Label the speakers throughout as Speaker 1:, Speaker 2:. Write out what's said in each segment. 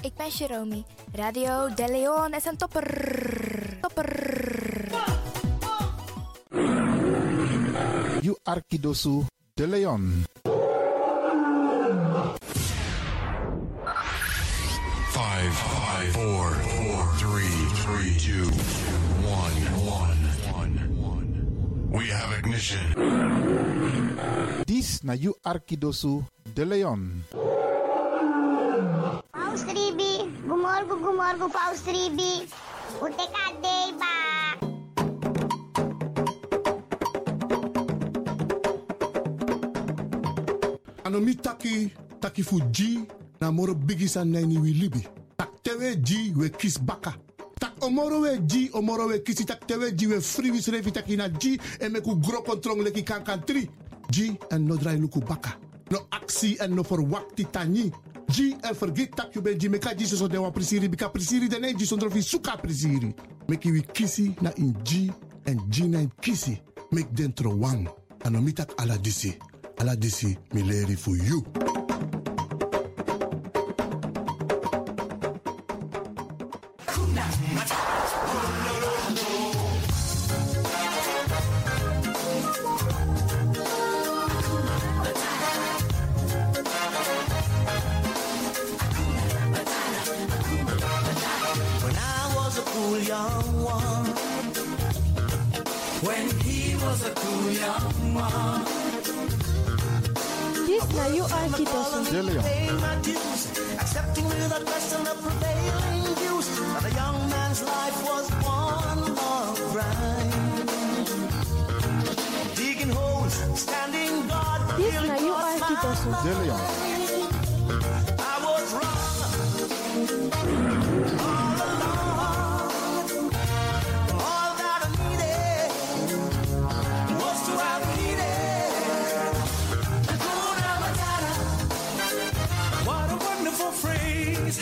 Speaker 1: ik ben Jerome. Radio De Leon is een topper. Topper.
Speaker 2: You Arkidosu de Leon.
Speaker 3: Five, five, four, four, three, three, two, one, one, one. We have ignition.
Speaker 2: This na You Arkidosu de Leon.
Speaker 4: Paus Ribi, gumorgo, gumorgo, Paus Ribi. O Tecadeiba.
Speaker 5: Anomi taki, taki fu G, na moro bigis an naini wi libi. Tak tewe G, we kis baka. Tak omoro we G, omoro we kisi, tak tewe G, we free wis revi taki na G, en meku gro kontrong leki kan kan tri. G, en no drai luku baka. No aksi en no for wakti tani. G, en vergeet tak you be G, meka G so dewa prisiri, bika prisiri dene G, sondro fi suka prisiri. Meki wi kisi na in G, en G na in kisi. Mek dentro wang. Anomi tak ala disi. Ala disi, mi leri fu you.
Speaker 6: When I was a cool young one. When he was a cool young one.
Speaker 7: This na you are Kitosu.
Speaker 2: De Leon.
Speaker 6: Paying my dues, accepting without question the prevailing views. But a young man's life was one long grind. Digging holes, standing guard,
Speaker 7: This
Speaker 6: feeling
Speaker 7: na you
Speaker 6: for a
Speaker 7: are
Speaker 6: smile.
Speaker 7: Kitosu.
Speaker 2: De Leon.
Speaker 6: I was wrong. All along. All that I needed was to have needed. Hakuna Matata. What a wonderful phrase.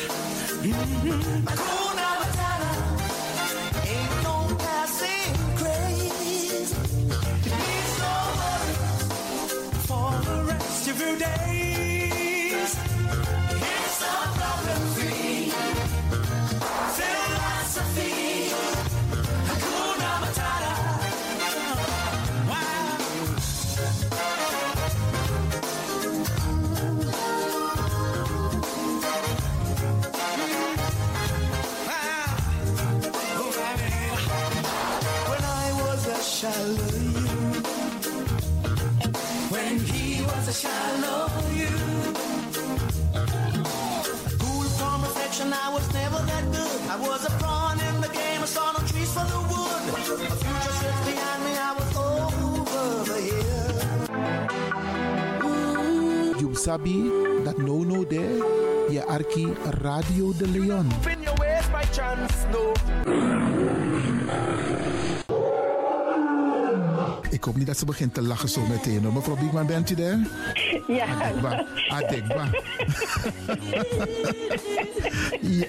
Speaker 6: Hakuna Matata. Ain't no passing craze. It means no worry for the rest of your days. It's a problem-free philosophy. Hakuna Matata. Wow. Wow. Oh, baby. When I was a Shallow you. When he was a shallow you. Cool from reflection, I was never that good. I was a pawn in the game, I saw no trees for the wood. A future sits behind me, I was over the hill.
Speaker 2: You sabi dat no no there. Je Arki Radio de Leon.
Speaker 6: In your ways by chance, no.
Speaker 2: Ik hoop niet dat ze begint te lachen zo meteen. hoor. Mevrouw Biekman, bent u daar?
Speaker 8: Ja,
Speaker 2: Adekba. Adekba. ja.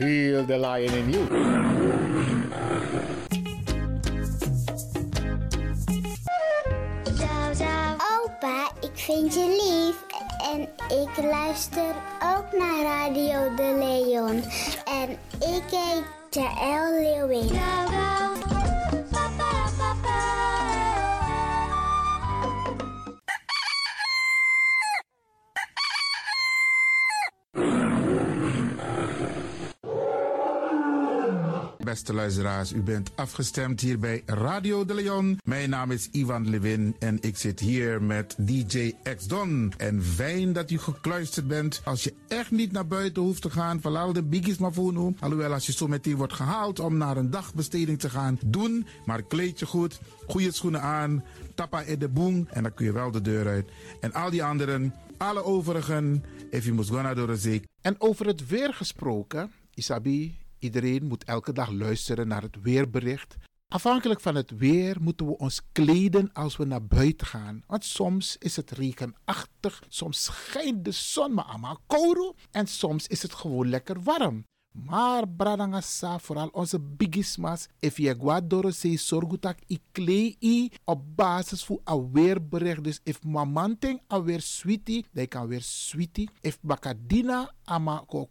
Speaker 9: Heel the lion in you.
Speaker 4: Zou, zou. Opa, ik vind je lief. En ik luister ook naar Radio De Leon. En ik heet Jaël Leeuwin.
Speaker 2: Beste luisteraars, u bent afgestemd hier bij Radio de Leon. Mijn naam is Ivan Levin en ik zit hier met DJ X-Don. En fijn dat u gekluisterd bent. Als je echt niet naar buiten hoeft te gaan, verlaal de biggies maar voor nu. Alhoewel, als je zo meteen wordt gehaald om naar een dagbesteding te gaan, doen. Maar kleed je goed, goede schoenen aan, tappa in de boem en dan kun je wel de deur uit. En al die anderen, alle overigen, if you must go naar door de zee. En over het weer gesproken, Isabi, Iedereen moet elke dag luisteren naar het weerbericht. Afhankelijk van het weer moeten we ons kleden als we naar buiten gaan. Want soms is het regenachtig, soms schijnt de zon maar allemaal kouro en soms is het gewoon lekker warm.
Speaker 8: Maar bradangasa, vooral onze bigismas, if je guadoro se sorgutak i klei i op basis voor aweerbericht. Dus if mamanting aweer sweetie, dan kan weer sweetie. If bakadina ama ko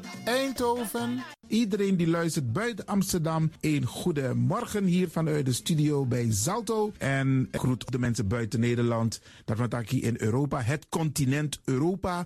Speaker 2: Eindhoven. Iedereen die luistert buiten Amsterdam, een goede morgen hier vanuit de studio bij Zalto. En ik groet de mensen buiten Nederland, dat we het hier in Europa, het continent Europa.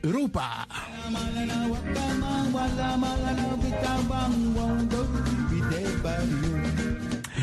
Speaker 2: Europa.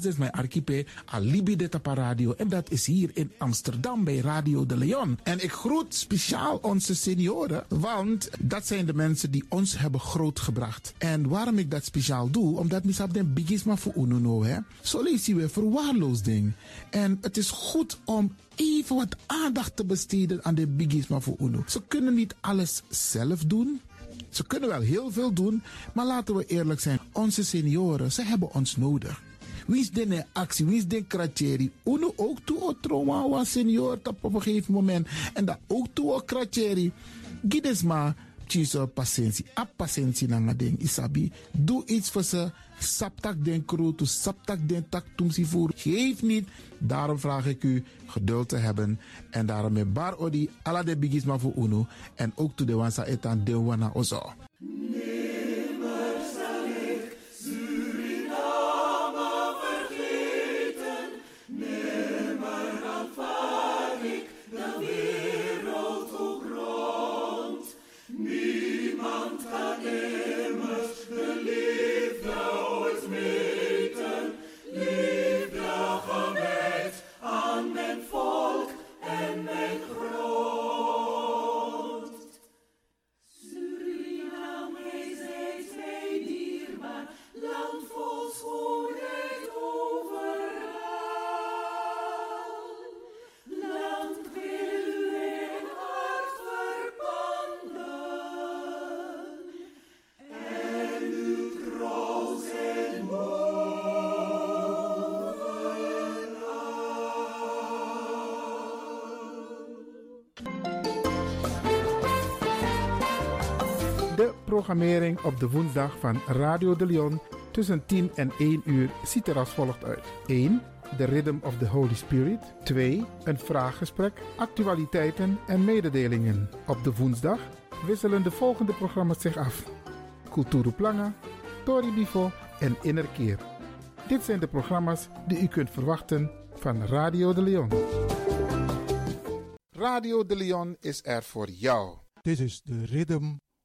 Speaker 2: dus mijn archipel Alibi de Tapa Radio. En dat is hier in Amsterdam bij Radio de Leon. En ik groet speciaal onze senioren, want dat zijn de mensen die ons hebben grootgebracht. En waarom ik dat speciaal doe, omdat misap den bigisma voor ununo, hè. Zo lezen we verwaarloosding. En het is goed om even wat aandacht te besteden aan de bigisma voor uno. Ze kunnen niet alles zelf doen. Ze kunnen wel heel veel doen, maar laten we eerlijk zijn. Onze senioren, ze hebben ons nodig. Wins den actie, wins den kratjeri. Uno ook toe o trauma wa senior tap op een gegeven moment. En dat ook toe o kratjeri. Gides maar, tjiso patiëntie. A patiëntie na ding, isabi. Doe iets voor ze. Saptak den kroto, saptak den tak tumsi voer. Geef niet. Daarom vraag ik u geduld te hebben. En daarom met bar odi, ala de bigisma voor uno. En ook toe de wansa etan de wana ozo. De programmering op de woensdag van Radio de Leon tussen 10 en 1 uur ziet er als volgt uit. 1. De Rhythm of the Holy Spirit. 2. Een vraaggesprek, actualiteiten en mededelingen. Op de woensdag wisselen de volgende programma's zich af. Cultura Planga, Tori Bifo en Innerkeer. Dit zijn de programma's die u kunt verwachten van Radio de Leon. Radio de Leon is er voor jou.
Speaker 10: This is the rhythm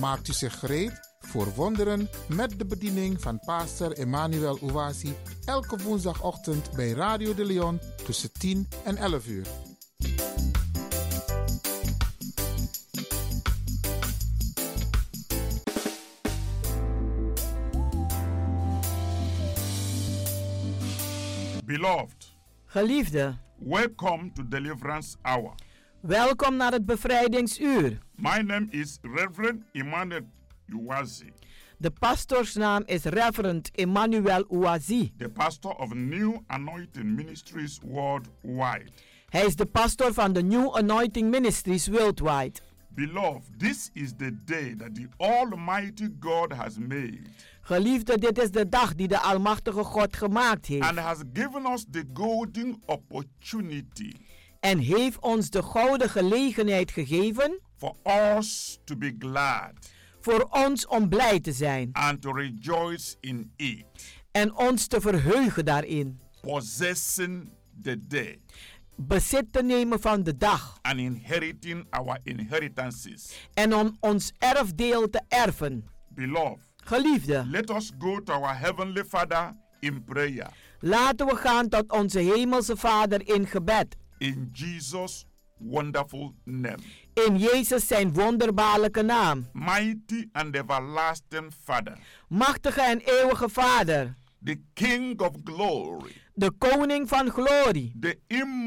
Speaker 8: Maakt u zich gereed voor wonderen met de bediening van pastor Emmanuel Owasi elke woensdagochtend bij Radio de Leon tussen 10 en 11 uur.
Speaker 11: Beloved.
Speaker 12: Geliefde.
Speaker 11: Welcome to Deliverance Hour.
Speaker 12: Welkom naar het bevrijdingsuur.
Speaker 11: My name is Reverend Emmanuel Uwazi.
Speaker 12: De pastoorsnaam is Reverend Emmanuel Uwazi.
Speaker 11: The pastor of New Anointing Ministries worldwide.
Speaker 12: Hij is de pastor van de New Anointing Ministries worldwide.
Speaker 11: Beloved, this is the day that the Almighty God has made.
Speaker 12: Geliefde, dit is de dag die de Almachtige God gemaakt heeft.
Speaker 11: And has given us the golden opportunity
Speaker 12: En heeft ons de gouden gelegenheid gegeven
Speaker 11: for us to be glad
Speaker 12: voor ons om blij te zijn
Speaker 11: and to rejoice in it,
Speaker 12: en ons te verheugen daarin.
Speaker 11: possessing the day
Speaker 12: Bezit te nemen van de dag
Speaker 11: and inheriting our inheritances.
Speaker 12: en om ons erfdeel te erven.
Speaker 11: Beloved,
Speaker 12: Geliefde,
Speaker 11: let us go to our Heavenly Father in prayer.
Speaker 12: laten we gaan tot onze Hemelse Vader in gebed.
Speaker 11: In Jesus' wonderful name.
Speaker 12: In Jezus zijn wonderbaarlijke naam.
Speaker 11: Mighty and everlasting Father,
Speaker 12: Machtige en eeuwige Vader,
Speaker 11: the King of glory,
Speaker 12: de koning van glorie,
Speaker 11: the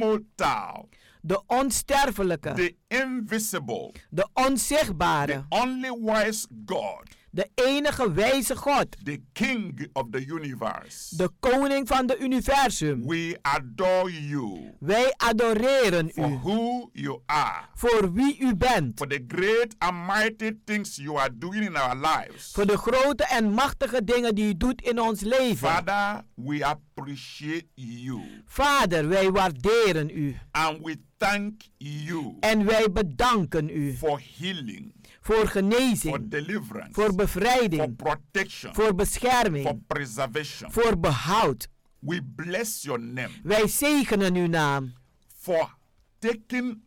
Speaker 11: immortal,
Speaker 12: de onsterfelijke,
Speaker 11: the invisible,
Speaker 12: de onzichtbare,
Speaker 11: only wise God,
Speaker 12: de enige wijze God,
Speaker 11: the King of the universe.
Speaker 12: de koning van de universum.
Speaker 11: We adore you
Speaker 12: Wij adoreren
Speaker 11: for
Speaker 12: u
Speaker 11: who you are,
Speaker 12: voor wie u bent,
Speaker 11: for the great and mighty things you are doing in our lives.
Speaker 12: voor de grote en machtige dingen die u doet in ons leven.
Speaker 11: Father, we appreciate you
Speaker 12: Vader, wij waarderen u
Speaker 11: and we thank you
Speaker 12: en wij bedanken u
Speaker 11: for healing,
Speaker 12: voor
Speaker 11: for
Speaker 12: genezing,
Speaker 11: deliverance,
Speaker 12: voor
Speaker 11: for
Speaker 12: bevrijding,
Speaker 11: protection,
Speaker 12: voor
Speaker 11: for
Speaker 12: bescherming,
Speaker 11: preservation.
Speaker 12: voor behoud.
Speaker 11: We bless your name
Speaker 12: Wij zegenen uw naam
Speaker 11: for taking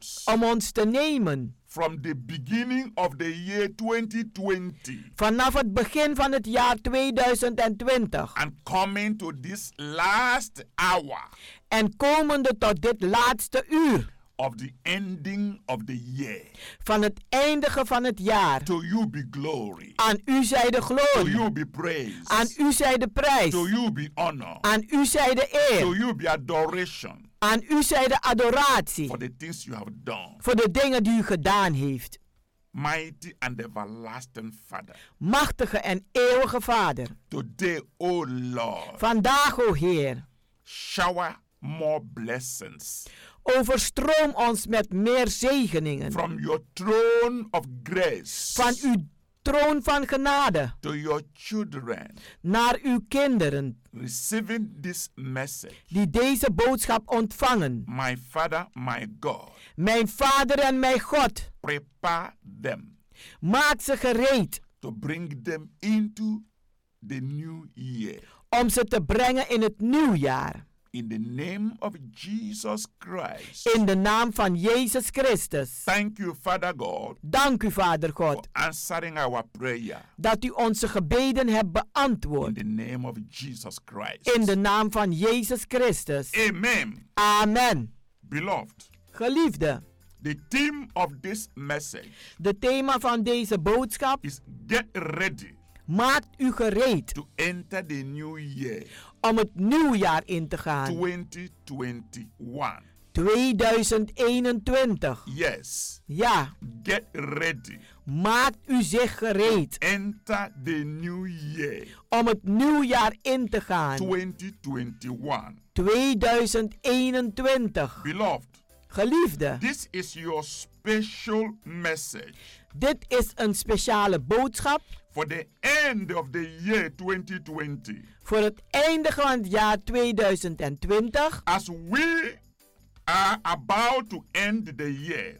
Speaker 11: us
Speaker 12: om ons te nemen
Speaker 11: from the beginning of the year 2020
Speaker 12: vanaf het begin van het jaar 2020
Speaker 11: and coming to this last hour
Speaker 12: en komende tot dit laatste uur
Speaker 11: of the ending of the year.
Speaker 12: van het eindigen van het jaar.
Speaker 11: To you be glory.
Speaker 12: Aan u zij de
Speaker 11: To
Speaker 12: glorie,
Speaker 11: you be praise.
Speaker 12: aan u zij de prijs,
Speaker 11: To you be honor.
Speaker 12: aan u zij de
Speaker 11: To
Speaker 12: eer,
Speaker 11: you be adoration
Speaker 12: aan u zij de adoratie
Speaker 11: for the things you have done.
Speaker 12: voor de dingen die u gedaan heeft.
Speaker 11: Mighty and everlasting Father.
Speaker 12: Machtige en eeuwige Vader,
Speaker 11: Today, O Lord,
Speaker 12: vandaag, o Heer,
Speaker 11: shower more blessings
Speaker 12: overstroom ons met meer zegeningen.
Speaker 11: from your throne of grace
Speaker 12: van uw troon van genade
Speaker 11: to your children
Speaker 12: naar uw kinderen
Speaker 11: receiving this message.
Speaker 12: die deze boodschap ontvangen.
Speaker 11: My Father, my God,
Speaker 12: Mijn Vader en mijn God,
Speaker 11: prepare them
Speaker 12: maak ze gereed
Speaker 11: to bring them into the new year.
Speaker 12: om ze te brengen in het nieuwjaar.
Speaker 11: In the name of Jesus Christ.
Speaker 12: In de naam van Jezus Christus.
Speaker 11: Thank you, Father God,
Speaker 12: Dank u, Vader
Speaker 11: for
Speaker 12: God,
Speaker 11: answering our prayer.
Speaker 12: dat u onze gebeden hebt
Speaker 11: In
Speaker 12: beantwoord.
Speaker 11: the name of Jesus Christ.
Speaker 12: In de naam van Jezus Christus.
Speaker 11: Amen.
Speaker 12: Amen.
Speaker 11: Beloved,
Speaker 12: Geliefde,
Speaker 11: the theme of this message
Speaker 12: de thema van deze boodschap
Speaker 11: is get ready
Speaker 12: maakt u gereed
Speaker 11: to enter the new year
Speaker 12: om het nieuwjaar in te gaan.
Speaker 11: 2021.
Speaker 12: 2021.
Speaker 11: Yes,
Speaker 12: Ja,
Speaker 11: get ready.
Speaker 12: maakt u zich gereed
Speaker 11: Enter the new year
Speaker 12: om het nieuwjaar in te gaan.
Speaker 11: 2021.
Speaker 12: 2021.
Speaker 11: Beloved,
Speaker 12: Geliefde,
Speaker 11: this is your special message
Speaker 12: dit is een speciale boodschap
Speaker 11: for the end of the year 2020.
Speaker 12: voor het einde van het jaar 2020.
Speaker 11: As we are about to end the year,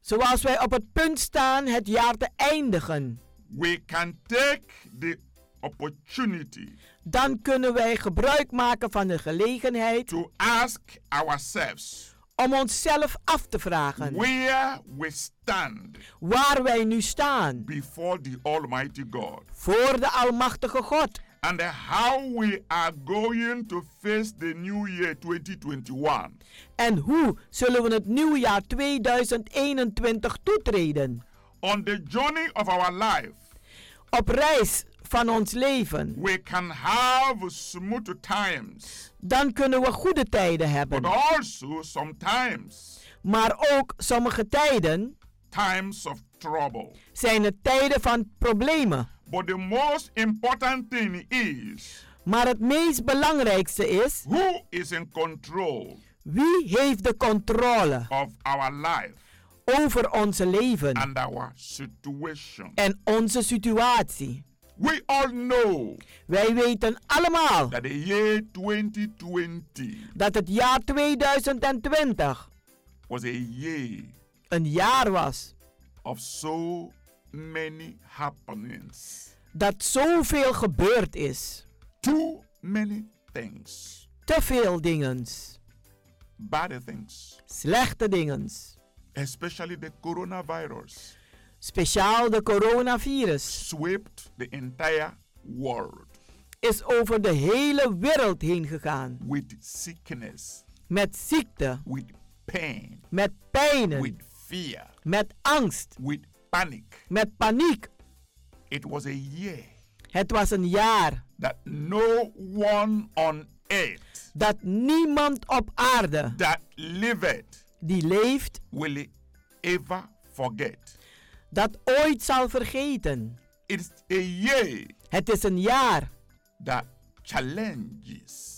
Speaker 12: Zoals wij op het punt staan het jaar te eindigen.
Speaker 11: We can take the opportunity
Speaker 12: Dan kunnen wij gebruik maken van de gelegenheid
Speaker 11: to ask ourselves
Speaker 12: om onszelf af te vragen
Speaker 11: where we stand
Speaker 12: waar wij nu staan
Speaker 11: before the Almighty God
Speaker 12: voor de Almachtige God.
Speaker 11: and how we are going to face the new year 2021.
Speaker 12: En hoe zullen we het nieuwjaar 2021 toetreden?
Speaker 11: On the journey of our life,
Speaker 12: Op reis van ons leven.
Speaker 11: we can have smooth times,
Speaker 12: Dan kunnen we goede tijden
Speaker 11: but
Speaker 12: hebben.
Speaker 11: also sometimes
Speaker 12: Maar ook sommige tijden
Speaker 11: times of trouble.
Speaker 12: zijn het tijden van problemen.
Speaker 11: But the most important thing is
Speaker 12: Maar het meest belangrijkste is,
Speaker 11: who is in control
Speaker 12: wie heeft de controle
Speaker 11: of our life
Speaker 12: over onze leven
Speaker 11: and our situation.
Speaker 12: en onze situatie?
Speaker 11: We all know
Speaker 12: Wij weten allemaal
Speaker 11: that the year 2020
Speaker 12: dat het jaar 2020
Speaker 11: was a year
Speaker 12: een jaar was
Speaker 11: of so many happenings,
Speaker 12: dat zoveel gebeurd is.
Speaker 11: too many things,
Speaker 12: Te veel dingen,
Speaker 11: bad things,
Speaker 12: slechte dingen.
Speaker 11: especially the coronavirus,
Speaker 12: Speciaal de coronavirus
Speaker 11: swept the entire world
Speaker 12: is over de hele wereld heen gegaan.
Speaker 11: with sickness,
Speaker 12: Met ziekte,
Speaker 11: with pain,
Speaker 12: met pijnen,
Speaker 11: with fear,
Speaker 12: met angst,
Speaker 11: with panic.
Speaker 12: met paniek.
Speaker 11: It was a year
Speaker 12: Het was een jaar
Speaker 11: that no one on earth
Speaker 12: dat niemand op aarde
Speaker 11: that liveth
Speaker 12: die leeft
Speaker 11: will ever forget.
Speaker 12: dat ooit zal vergeten.
Speaker 11: It's a year
Speaker 12: Het is een jaar
Speaker 11: that challenges,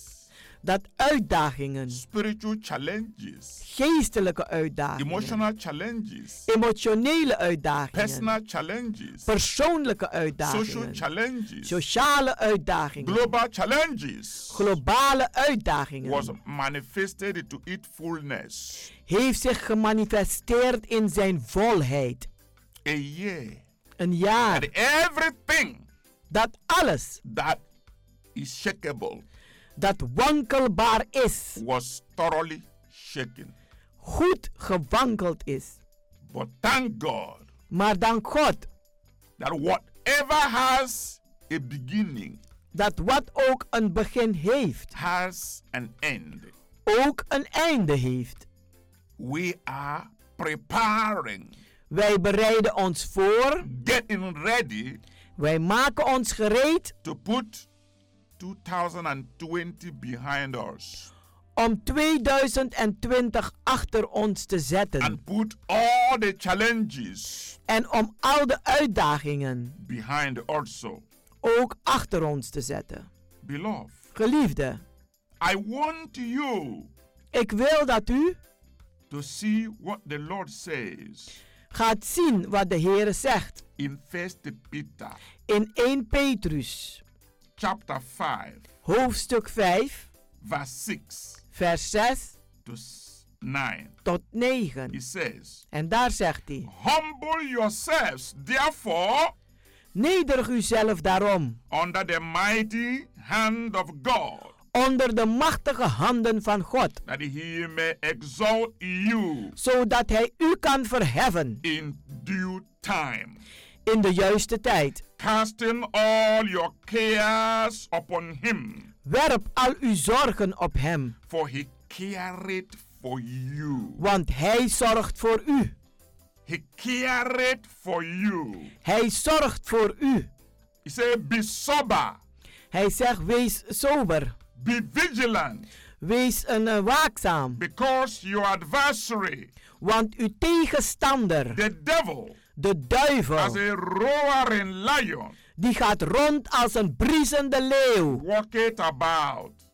Speaker 12: dat uitdagingen,
Speaker 11: spiritual challenges,
Speaker 12: geestelijke uitdagingen,
Speaker 11: emotional challenges,
Speaker 12: emotionele uitdagingen,
Speaker 11: personal challenges,
Speaker 12: persoonlijke
Speaker 11: social
Speaker 12: uitdagingen,
Speaker 11: challenges,
Speaker 12: sociale uitdagingen,
Speaker 11: global challenges
Speaker 12: globale
Speaker 11: was
Speaker 12: uitdagingen,
Speaker 11: manifested to its fullness.
Speaker 12: heeft zich gemanifesteerd in zijn volheid.
Speaker 11: A year
Speaker 12: Een jaar
Speaker 11: that everything
Speaker 12: dat alles
Speaker 11: that is shakeable
Speaker 12: dat wankelbaar is,
Speaker 11: was thoroughly shaken.
Speaker 12: goed gewankeld is.
Speaker 11: But thank God
Speaker 12: Maar dank God
Speaker 11: that whatever has a beginning
Speaker 12: dat wat ook een begin heeft,
Speaker 11: has an end.
Speaker 12: ook een einde heeft.
Speaker 11: We are preparing,
Speaker 12: Wij bereiden ons voor,
Speaker 11: getting ready
Speaker 12: wij maken ons gereed
Speaker 11: to put 2020 behind us
Speaker 12: om 2020 achter ons te zetten
Speaker 11: and put all the challenges
Speaker 12: en om al de uitdagingen
Speaker 11: behind also.
Speaker 12: ook achter ons te zetten.
Speaker 11: Beloved,
Speaker 12: Geliefde,
Speaker 11: I want you
Speaker 12: ik wil dat u
Speaker 11: to see what the Lord says
Speaker 12: gaat zien wat de Heer zegt
Speaker 11: in 1 Peter
Speaker 12: in 1 Petrus,
Speaker 11: chapter 5,
Speaker 12: hoofdstuk 5,
Speaker 11: verse 6
Speaker 12: vers 6
Speaker 11: to s- 9.
Speaker 12: tot 9.
Speaker 11: It says,
Speaker 12: En daar zegt hij:
Speaker 11: Humble yourselves, therefore,
Speaker 12: Nederig uzelf daarom
Speaker 11: under the mighty hand of God,
Speaker 12: onder de machtige handen van God,
Speaker 11: that he may exalt you
Speaker 12: zodat hij u kan verheffen
Speaker 11: in due time,
Speaker 12: in de juiste tijd.
Speaker 11: casting all your cares upon him,
Speaker 12: Werp al uw zorgen op hem,
Speaker 11: for he careth for you.
Speaker 12: want hij zorgt voor u.
Speaker 11: He careth for you.
Speaker 12: Hij zorgt voor u.
Speaker 11: He said, Be sober,
Speaker 12: Hij zegt: wees sober,
Speaker 11: be vigilant,
Speaker 12: wees een eh, waakzaam,
Speaker 11: because your adversary,
Speaker 12: want uw tegenstander,
Speaker 11: the devil,
Speaker 12: de
Speaker 11: as
Speaker 12: duivel,
Speaker 11: a roaring lion,
Speaker 12: die gaat rond als een briesende leeuw,
Speaker 11: walketh about,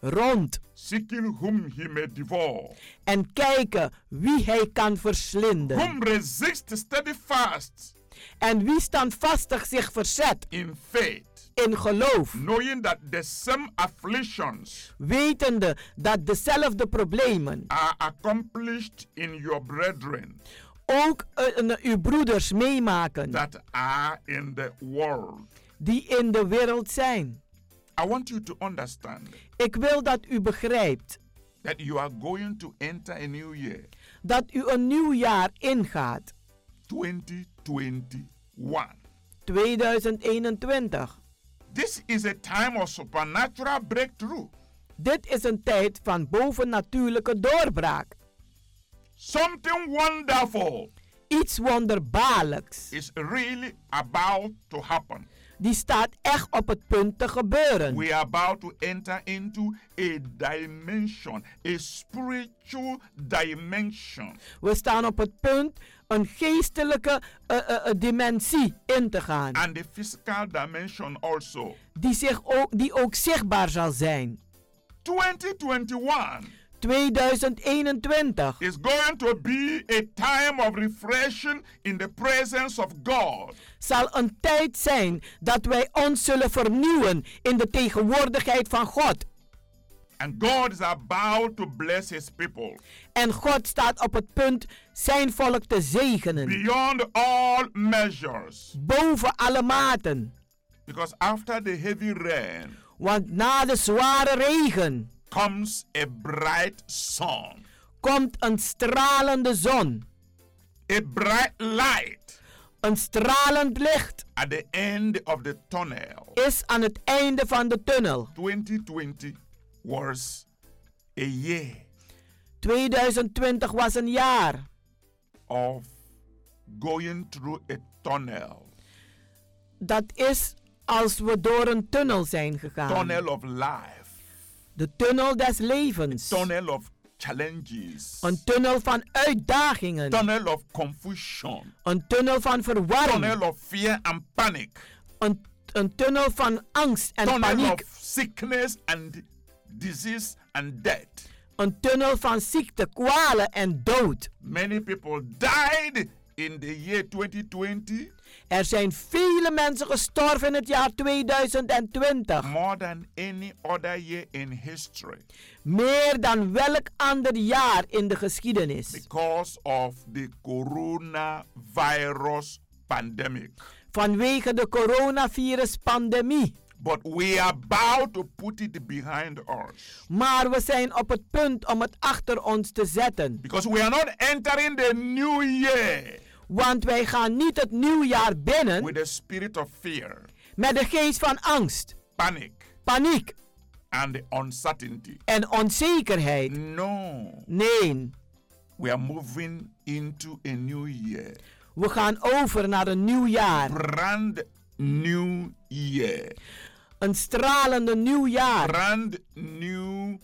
Speaker 12: rond
Speaker 11: seeking whom he may devour.
Speaker 12: en kijken wie hij kan verslinden
Speaker 11: Whom resist steadfast
Speaker 12: en wie standvastig zich verzet
Speaker 11: in faith,
Speaker 12: in geloof.
Speaker 11: knowing that the same afflictions
Speaker 12: wetende dat dezelfde problemen
Speaker 11: are accomplished in your brethren
Speaker 12: ook eh, eh, uw broeders meemaken.
Speaker 11: that are in the world.
Speaker 12: die in de wereld zijn.
Speaker 11: I want you to understand
Speaker 12: Ik wil dat u begrijpt
Speaker 11: that you are going to enter a new year,
Speaker 12: dat u een nieuw jaar ingaat,
Speaker 11: 2021.
Speaker 12: 2021.
Speaker 11: This is a time of supernatural breakthrough.
Speaker 12: Dit is een tijd van bovennatuurlijke doorbraak.
Speaker 11: Something wonderful
Speaker 12: Iets wonderbaarlijks.
Speaker 11: is really about to happen.
Speaker 12: Die staat echt op het punt te gebeuren.
Speaker 11: We are about to enter into a dimension, a spiritual dimension
Speaker 12: We staan op het punt een geestelijke eh, eh, eh, dimensie in te gaan.
Speaker 11: and a physical dimension also.
Speaker 12: Die, zich ook, die ook zichtbaar zal zijn.
Speaker 11: 2021
Speaker 12: 2021
Speaker 11: is going to be a time of refreshing in the presence of God.
Speaker 12: zal een tijd zijn dat wij ons zullen vernieuwen in de tegenwoordigheid van God.
Speaker 11: And God is about to bless his people
Speaker 12: En God staat op het punt zijn volk te zegenen.
Speaker 11: beyond all measures.
Speaker 12: Boven alle maten.
Speaker 11: Because after the heavy rain
Speaker 12: Want na de zware regen
Speaker 11: comes a bright sun,
Speaker 12: komt een stralende zon.
Speaker 11: a bright light
Speaker 12: Een stralend licht
Speaker 11: at the end of the tunnel.
Speaker 12: is aan het einde van de tunnel.
Speaker 11: 2020 was a year
Speaker 12: 2020 was een jaar
Speaker 11: of going through a tunnel,
Speaker 12: dat is als we door een tunnel zijn gegaan.
Speaker 11: tunnel of life,
Speaker 12: De tunnel des levens.
Speaker 11: tunnel of challenges,
Speaker 12: Een tunnel van uitdagingen.
Speaker 11: tunnel of confusion,
Speaker 12: Een tunnel van verwarring.
Speaker 11: tunnel of fear and panic,
Speaker 12: Een, een tunnel van angst en
Speaker 11: tunnel
Speaker 12: paniek.
Speaker 11: of sickness and disease and death.
Speaker 12: Een tunnel van ziekte, kwalen en dood.
Speaker 11: Many people died in the year 2020,
Speaker 12: Er zijn vele mensen gestorven in het jaar 2020.
Speaker 11: more than any other year in history,
Speaker 12: Meer dan welk ander jaar in de geschiedenis.
Speaker 11: because of the coronavirus pandemic.
Speaker 12: Vanwege de coronavirus-pandemie.
Speaker 11: But we are about to put it behind us.
Speaker 12: Maar we zijn op het punt om het achter ons te zetten.
Speaker 11: Because we are not entering the new year
Speaker 12: Want wij gaan niet het nieuwjaar binnen
Speaker 11: with a spirit of fear,
Speaker 12: met de geest van angst,
Speaker 11: panic,
Speaker 12: paniek
Speaker 11: and uncertainty.
Speaker 12: en onzekerheid.
Speaker 11: No.
Speaker 12: Nee,
Speaker 11: We are moving into a new year.
Speaker 12: we gaan over naar een nieuw jaar.
Speaker 11: Brand new year.
Speaker 12: Een stralende nieuw jaar.
Speaker 11: Brand new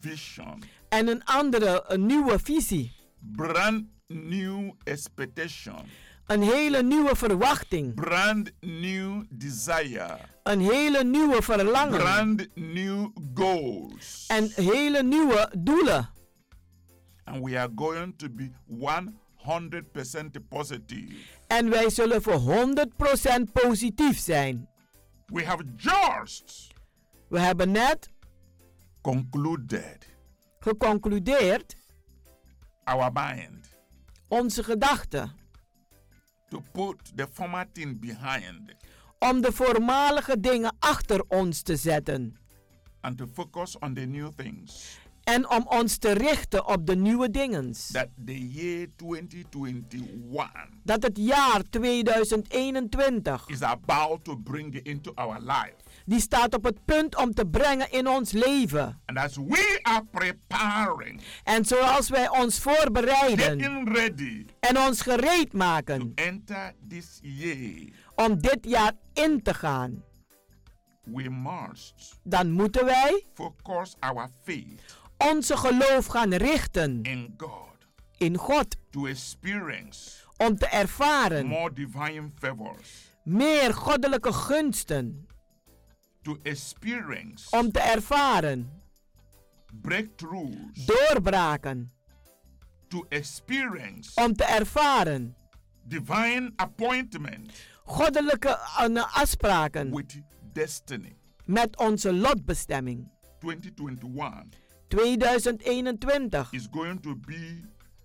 Speaker 11: vision.
Speaker 12: En een andere, een nieuwe visie.
Speaker 11: Brand new expectation.
Speaker 12: Een hele nieuwe verwachting.
Speaker 11: Brand new desire.
Speaker 12: Een hele nieuwe verlangen.
Speaker 11: Brand new goals.
Speaker 12: En hele nieuwe doelen.
Speaker 11: and we are going to be 100% positive.
Speaker 12: En wij zullen voor 100% positief zijn.
Speaker 11: We have just
Speaker 12: We hebben net
Speaker 11: concluded
Speaker 12: geconcludeerd
Speaker 11: our mind
Speaker 12: onze gedachten
Speaker 11: to put the former thing behind
Speaker 12: om de voormalige dingen achter ons te zetten
Speaker 11: and to focus on the new things
Speaker 12: en om ons te richten op de nieuwe dingen.
Speaker 11: that the year 2021
Speaker 12: Dat het jaar 2021
Speaker 11: is about to bring into our life.
Speaker 12: die staat op het punt om te brengen in ons leven.
Speaker 11: And as we are preparing,
Speaker 12: En zoals wij ons voorbereiden
Speaker 11: getting ready
Speaker 12: en ons gereed
Speaker 11: to
Speaker 12: maken
Speaker 11: enter this year,
Speaker 12: om dit jaar in te gaan,
Speaker 11: we must
Speaker 12: dan moeten wij
Speaker 11: focus our faith
Speaker 12: onze geloof gaan richten
Speaker 11: in God
Speaker 12: in God
Speaker 11: to experience
Speaker 12: om te ervaren
Speaker 11: more divine favors,
Speaker 12: meer goddelijke gunsten,
Speaker 11: to experience
Speaker 12: om te ervaren
Speaker 11: breakthroughs,
Speaker 12: doorbraken,
Speaker 11: to experience
Speaker 12: om te ervaren
Speaker 11: divine appointment
Speaker 12: goddelijke eh, afspraken
Speaker 11: with destiny.
Speaker 12: met onze lotbestemming.
Speaker 11: 2021
Speaker 12: 2021
Speaker 11: is going to be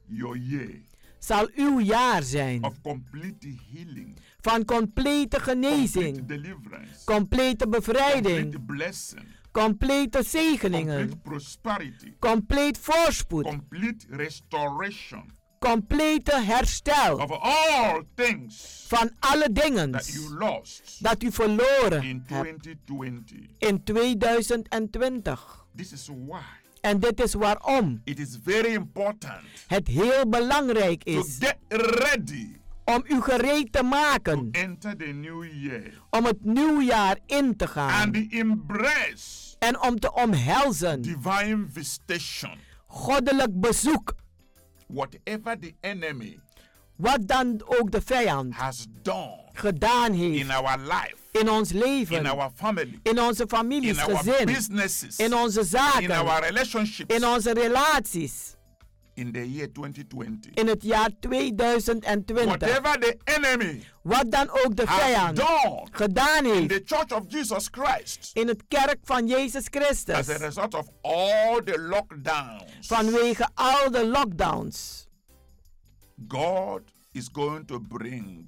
Speaker 11: your year
Speaker 12: zal uw jaar zijn
Speaker 11: of complete healing,
Speaker 12: van complete
Speaker 11: complete
Speaker 12: genezing,
Speaker 11: deliverance,
Speaker 12: complete
Speaker 11: complete
Speaker 12: bevrijding,
Speaker 11: blessing,
Speaker 12: complete zegeningen,
Speaker 11: complete prosperity,
Speaker 12: compleet voorspoed,
Speaker 11: complete restoration
Speaker 12: complete herstel
Speaker 11: of all things
Speaker 12: van alle dingen
Speaker 11: that you lost
Speaker 12: dat u verloren
Speaker 11: in
Speaker 12: hebt
Speaker 11: 2020.
Speaker 12: in 2020.
Speaker 11: This is why
Speaker 12: En dit is waarom
Speaker 11: it is very important
Speaker 12: het heel belangrijk
Speaker 11: to
Speaker 12: is
Speaker 11: get ready
Speaker 12: om u gereed te maken
Speaker 11: enter the new year
Speaker 12: om het nieuwjaar in te gaan
Speaker 11: and embrace
Speaker 12: en om te omhelzen.
Speaker 11: divine visitation.
Speaker 12: Goddelijk bezoek,
Speaker 11: Whatever the enemy
Speaker 12: wat dan ook de vijand
Speaker 11: has done
Speaker 12: gedaan
Speaker 11: in
Speaker 12: heeft
Speaker 11: our life,
Speaker 12: in ons
Speaker 11: in
Speaker 12: leven,
Speaker 11: our family,
Speaker 12: in onze
Speaker 11: in
Speaker 12: families,
Speaker 11: our
Speaker 12: gezin,
Speaker 11: businesses,
Speaker 12: in onze
Speaker 11: in our
Speaker 12: zaken,
Speaker 11: relationships,
Speaker 12: in onze relaties,
Speaker 11: in the year 2020.
Speaker 12: in het jaar 2020.
Speaker 11: Whatever the enemy
Speaker 12: Wat dan ook de
Speaker 11: has
Speaker 12: vijand
Speaker 11: done
Speaker 12: gedaan
Speaker 11: in
Speaker 12: heeft
Speaker 11: the church of Jesus Christ
Speaker 12: in het kerk van Jezus Christus
Speaker 11: as a result of all the lockdowns,
Speaker 12: vanwege al de lockdowns.
Speaker 11: God is going to bring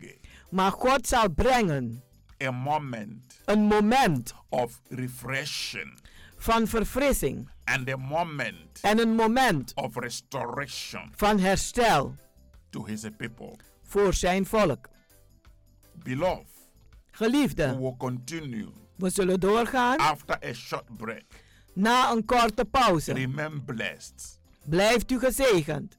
Speaker 12: Maar God zal brengen
Speaker 11: a moment
Speaker 12: een moment
Speaker 11: of refreshing
Speaker 12: van verfrissing
Speaker 11: and a moment
Speaker 12: en een moment
Speaker 11: of restoration
Speaker 12: van herstel
Speaker 11: to his people.
Speaker 12: voor zijn volk.
Speaker 11: Beloved, we
Speaker 12: Geliefden,
Speaker 11: will continue
Speaker 12: we zullen doorgaan
Speaker 11: after a short break.
Speaker 12: na een korte pauze.
Speaker 11: Remain blessed.
Speaker 12: Blijft u gezegend.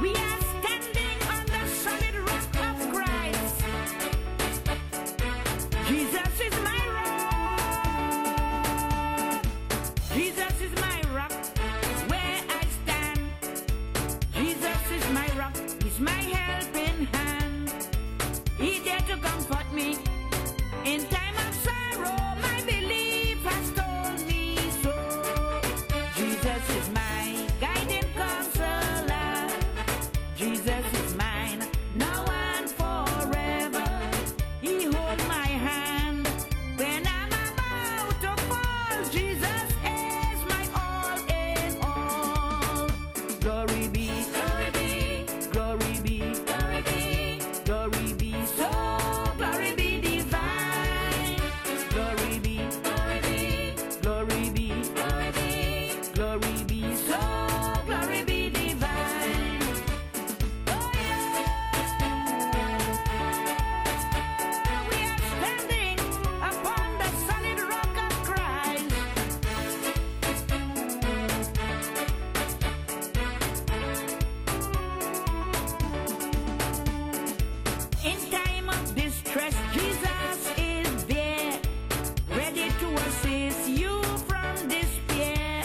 Speaker 13: We are standing on the solid rock of Christ. Jesus is my rock. Jesus is my rock, where I stand. Jesus is my rock, he's my helping hand. He's there to comfort me in time of sorrow. My belief has told me so. Jesus is my guiding counselor. Jesus is mine, now and forever. He holds my hand when I'm about to fall. Jesus is my all in all. Glory be, glory be, glory be, glory be, glory be, so glory be divine. Glory be, glory be, glory be, glory be, glory be, so glory be divine. Oh yeah, we are standing upon the solid rock of Christ. In time of distress, Jesus is there, ready to assist you from despair.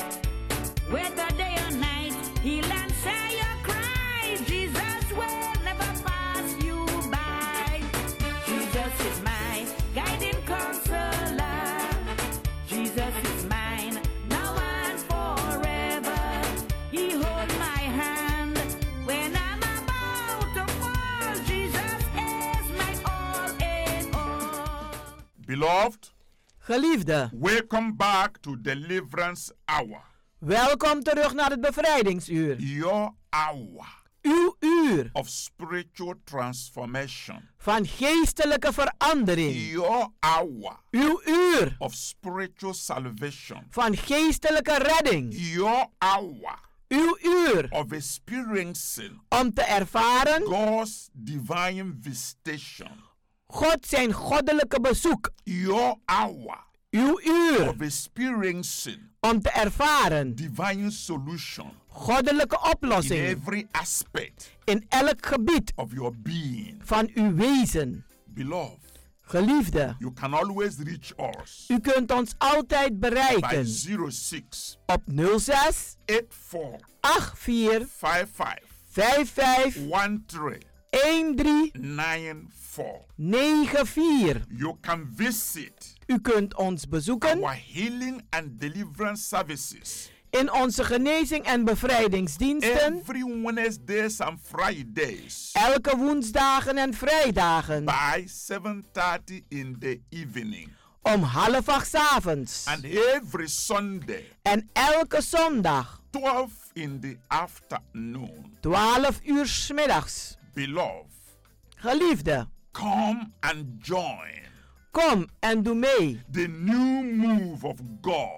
Speaker 13: Whether day or night, he'll answer your cry. Jesus will never pass you by. Jesus is my guiding counselor. Jesus is mine, now and forever. He holds my hand when I'm about to fall. Jesus is my all in all.
Speaker 11: Beloved,
Speaker 12: Geliefden,
Speaker 11: welcome back to Deliverance Hour.
Speaker 12: welkom terug naar het bevrijdingsuur.
Speaker 11: Your hour
Speaker 12: Uw uur
Speaker 11: of spiritual transformation.
Speaker 12: van geestelijke verandering.
Speaker 11: Your hour
Speaker 12: Uw uur
Speaker 11: of spiritual salvation.
Speaker 12: van geestelijke redding.
Speaker 11: Your hour
Speaker 12: Uw uur
Speaker 11: of experiencing
Speaker 12: om te ervaren
Speaker 11: God's divine visitation.
Speaker 12: God zijn goddelijke bezoek.
Speaker 11: Your hour
Speaker 12: Uw uur
Speaker 11: of experiencing
Speaker 12: om te ervaren
Speaker 11: divine solution
Speaker 12: goddelijke
Speaker 11: in
Speaker 12: oplossing
Speaker 11: every aspect
Speaker 12: in elk gebied
Speaker 11: of your being.
Speaker 12: van uw wezen.
Speaker 11: Beloved,
Speaker 12: Geliefde,
Speaker 11: you can always reach us
Speaker 12: u kunt ons
Speaker 11: by
Speaker 12: altijd bereiken
Speaker 11: 06
Speaker 12: op 06
Speaker 11: 84
Speaker 12: 84
Speaker 11: 55
Speaker 12: 55 13
Speaker 11: 1394.
Speaker 12: 94.
Speaker 11: You can visit
Speaker 12: U kunt ons bezoeken
Speaker 11: our healing and deliverance services
Speaker 12: in onze genezing en bevrijdingsdiensten.
Speaker 11: every Wednesdays and Fridays
Speaker 12: Elke woensdagen en vrijdagen
Speaker 11: by 7:30 in the evening
Speaker 12: om half acht 's avonds.
Speaker 11: and every Sunday
Speaker 12: En elke zondag
Speaker 11: 12 in the afternoon.
Speaker 12: 12 uur 's middags.
Speaker 11: Beloved,
Speaker 12: Geliefde,
Speaker 11: come and join
Speaker 12: kom en doe mee
Speaker 11: the new move of God.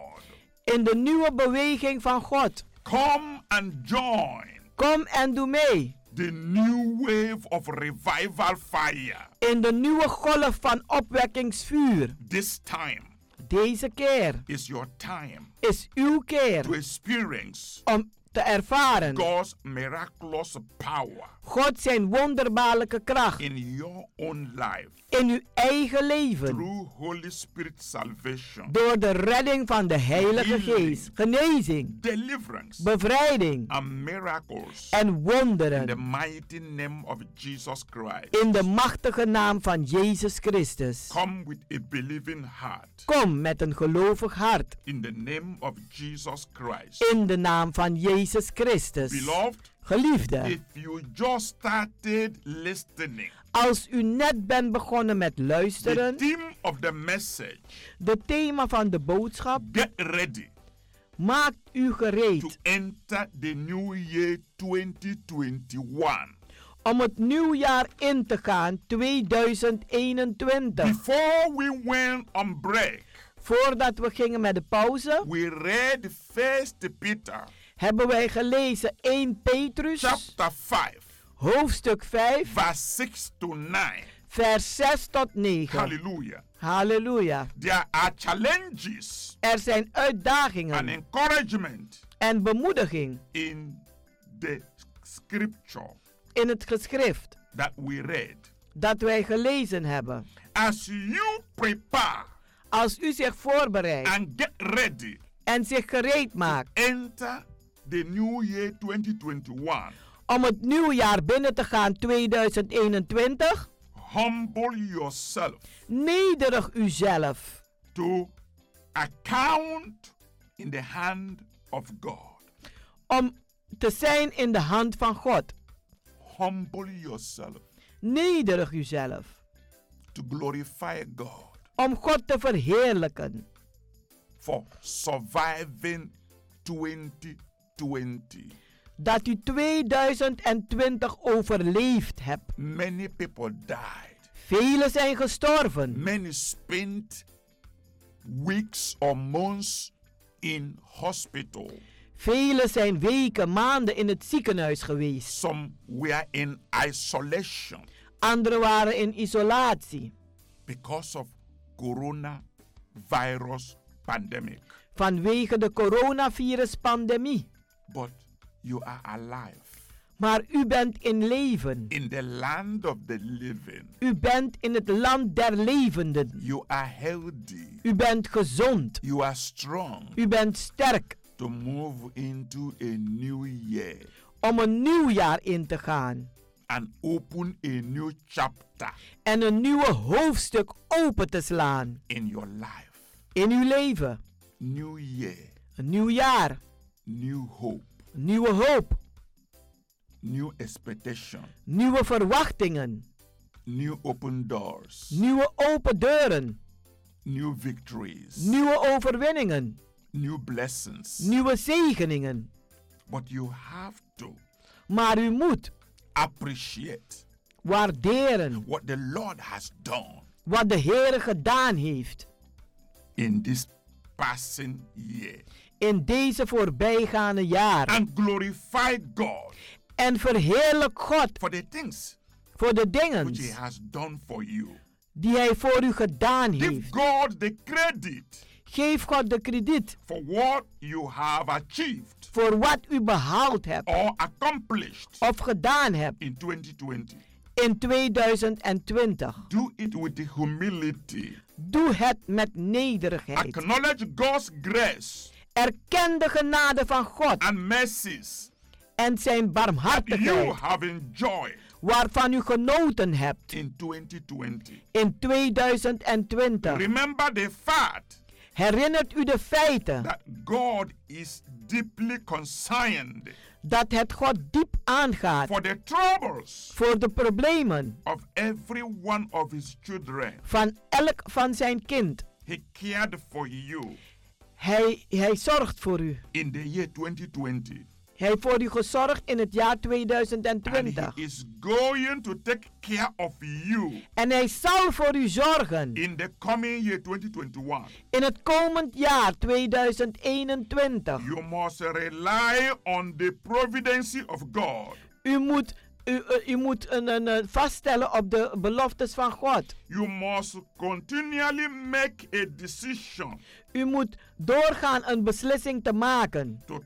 Speaker 12: in de nieuwe beweging van God.
Speaker 11: Come and join
Speaker 12: Kom en doe mee
Speaker 11: the new wave of revival fire.
Speaker 12: in de nieuwe golf van opwekkingsvuur.
Speaker 11: This time
Speaker 12: Deze keer
Speaker 11: is your time
Speaker 12: is uw
Speaker 11: to
Speaker 12: keer
Speaker 11: experience
Speaker 12: om te ervaren
Speaker 11: God's miraculous power
Speaker 12: God zijn wonderbaarlijke kracht
Speaker 11: in your own life
Speaker 12: in uw eigen leven.
Speaker 11: through Holy Spirit salvation,
Speaker 12: Door de redding van de Heilige Geest, genezing,
Speaker 11: deliverance,
Speaker 12: bevrijding
Speaker 11: and miracles.
Speaker 12: en
Speaker 11: In the
Speaker 12: wonderen.
Speaker 11: mighty name of Jesus Christ,
Speaker 12: In de machtige naam van Jezus Christus.
Speaker 11: come with a believing heart.
Speaker 12: Kom met een gelovig hart.
Speaker 11: In the name of Jesus Christ.
Speaker 12: In de naam van Jezus Christus.
Speaker 11: Beloved,
Speaker 12: Geliefde,
Speaker 11: if you just started listening,
Speaker 12: als u net bent begonnen met
Speaker 11: the
Speaker 12: luisteren,
Speaker 11: theme of the message,
Speaker 12: de thema van de boodschap,
Speaker 11: get ready
Speaker 12: maakt u
Speaker 11: to
Speaker 12: gereed
Speaker 11: enter the new year 2021.
Speaker 12: om het nieuwjaar in te gaan 2021.
Speaker 11: Before we went on break,
Speaker 12: Voordat we gingen met de pauze,
Speaker 11: we read First Peter
Speaker 12: hebben wij gelezen 1 Petrus,
Speaker 11: chapter 5,
Speaker 12: hoofdstuk 5,
Speaker 11: verse 6 to 9.
Speaker 12: vers 6 tot 9.
Speaker 11: Hallelujah.
Speaker 12: Halleluja.
Speaker 11: There are challenges
Speaker 12: Er zijn
Speaker 11: and
Speaker 12: uitdagingen
Speaker 11: encouragement
Speaker 12: en bemoediging
Speaker 11: in the scripture
Speaker 12: in het geschrift
Speaker 11: that we read.
Speaker 12: dat wij gelezen hebben.
Speaker 11: As you prepare
Speaker 12: Als u zich voorbereidt
Speaker 11: and get ready,
Speaker 12: en zich gereed maakt
Speaker 11: enter the new year 2021.
Speaker 12: om het nieuwjaar binnen te gaan 2021,
Speaker 11: Humble yourself
Speaker 12: nederig uzelf
Speaker 11: to account in the hand of God.
Speaker 12: om te zijn in de hand van God.
Speaker 11: Humble yourself
Speaker 12: Nederig uzelf
Speaker 11: to glorify God
Speaker 12: om God te verheerlijken
Speaker 11: for surviving 2020.
Speaker 12: dat u 2020 overleefd hebt.
Speaker 11: Many people died.
Speaker 12: Velen zijn gestorven.
Speaker 11: Many spent weeks or months in hospital.
Speaker 12: Velen zijn weken, maanden in het ziekenhuis geweest.
Speaker 11: Some were in isolation
Speaker 12: Anderen waren in isolatie
Speaker 11: because of coronavirus pandemic.
Speaker 12: vanwege de coronaviruspandemie.
Speaker 11: But you are alive
Speaker 12: Maar u bent in leven.
Speaker 11: in the land of the living.
Speaker 12: U bent in het land der levenden.
Speaker 11: You are healthy.
Speaker 12: U bent gezond.
Speaker 11: You are strong
Speaker 12: U bent sterk
Speaker 11: to move into a new year
Speaker 12: om een nieuw jaar in te gaan.
Speaker 11: and open a new chapter
Speaker 12: En een nieuwe hoofdstuk open te slaan
Speaker 11: in your life.
Speaker 12: in uw leven.
Speaker 11: New year,
Speaker 12: Een nieuw jaar.
Speaker 11: new hope.
Speaker 12: Een nieuwe hoop.
Speaker 11: new expectation,
Speaker 12: Nieuwe verwachtingen.
Speaker 11: new open doors,
Speaker 12: Nieuwe open deuren.
Speaker 11: new victories,
Speaker 12: Nieuwe overwinningen.
Speaker 11: new blessings.
Speaker 12: Nieuwe zegeningen.
Speaker 11: but you have to
Speaker 12: Maar u moet
Speaker 11: appreciate
Speaker 12: waarderen
Speaker 11: what the Lord has done
Speaker 12: wat de Heer gedaan heeft
Speaker 11: in this passing year
Speaker 12: in deze voorbijgaande jaren.
Speaker 11: and glorify God
Speaker 12: En verheerlijk God
Speaker 11: for the things
Speaker 12: voor de dingen
Speaker 11: which He has done for you.
Speaker 12: die Hij voor u gedaan
Speaker 11: Give
Speaker 12: heeft.
Speaker 11: God the credit
Speaker 12: Geef God de krediet
Speaker 11: for what you have achieved
Speaker 12: voor wat u behaald hebt
Speaker 11: or accomplished
Speaker 12: of gedaan hebt
Speaker 11: in 2020.
Speaker 12: in 2020.
Speaker 11: Do it with humility.
Speaker 12: Doe het met nederigheid.
Speaker 11: Acknowledge God's grace
Speaker 12: Erken de genade van God
Speaker 11: and mercies
Speaker 12: en zijn
Speaker 11: you
Speaker 12: barmhartigheid
Speaker 11: have enjoyed
Speaker 12: waarvan u genoten hebt
Speaker 11: in 2020.
Speaker 12: in 2020.
Speaker 11: Remember the fact
Speaker 12: Herinnert u de feiten
Speaker 11: that God is deeply concerned
Speaker 12: dat het God diep aangaat
Speaker 11: for the troubles
Speaker 12: voor de problemen
Speaker 11: of every one of his children.
Speaker 12: van elk van zijn kind.
Speaker 11: He cared for you
Speaker 12: Hij, hij zorgt voor u.
Speaker 11: in the year 2020.
Speaker 12: Hij heeft voor u gezorgd in het jaar
Speaker 11: And
Speaker 12: 2020.
Speaker 11: he is going to take care of you
Speaker 12: En hij zal voor u zorgen
Speaker 11: in the coming year 2021.
Speaker 12: in het komend jaar 2021.
Speaker 11: You must rely on the providency of God.
Speaker 12: U moet, u, eh, u moet een, een, eh, vaststellen op de beloftes van God.
Speaker 11: You must continually make a decision
Speaker 12: U moet doorgaan een beslissing te maken
Speaker 11: to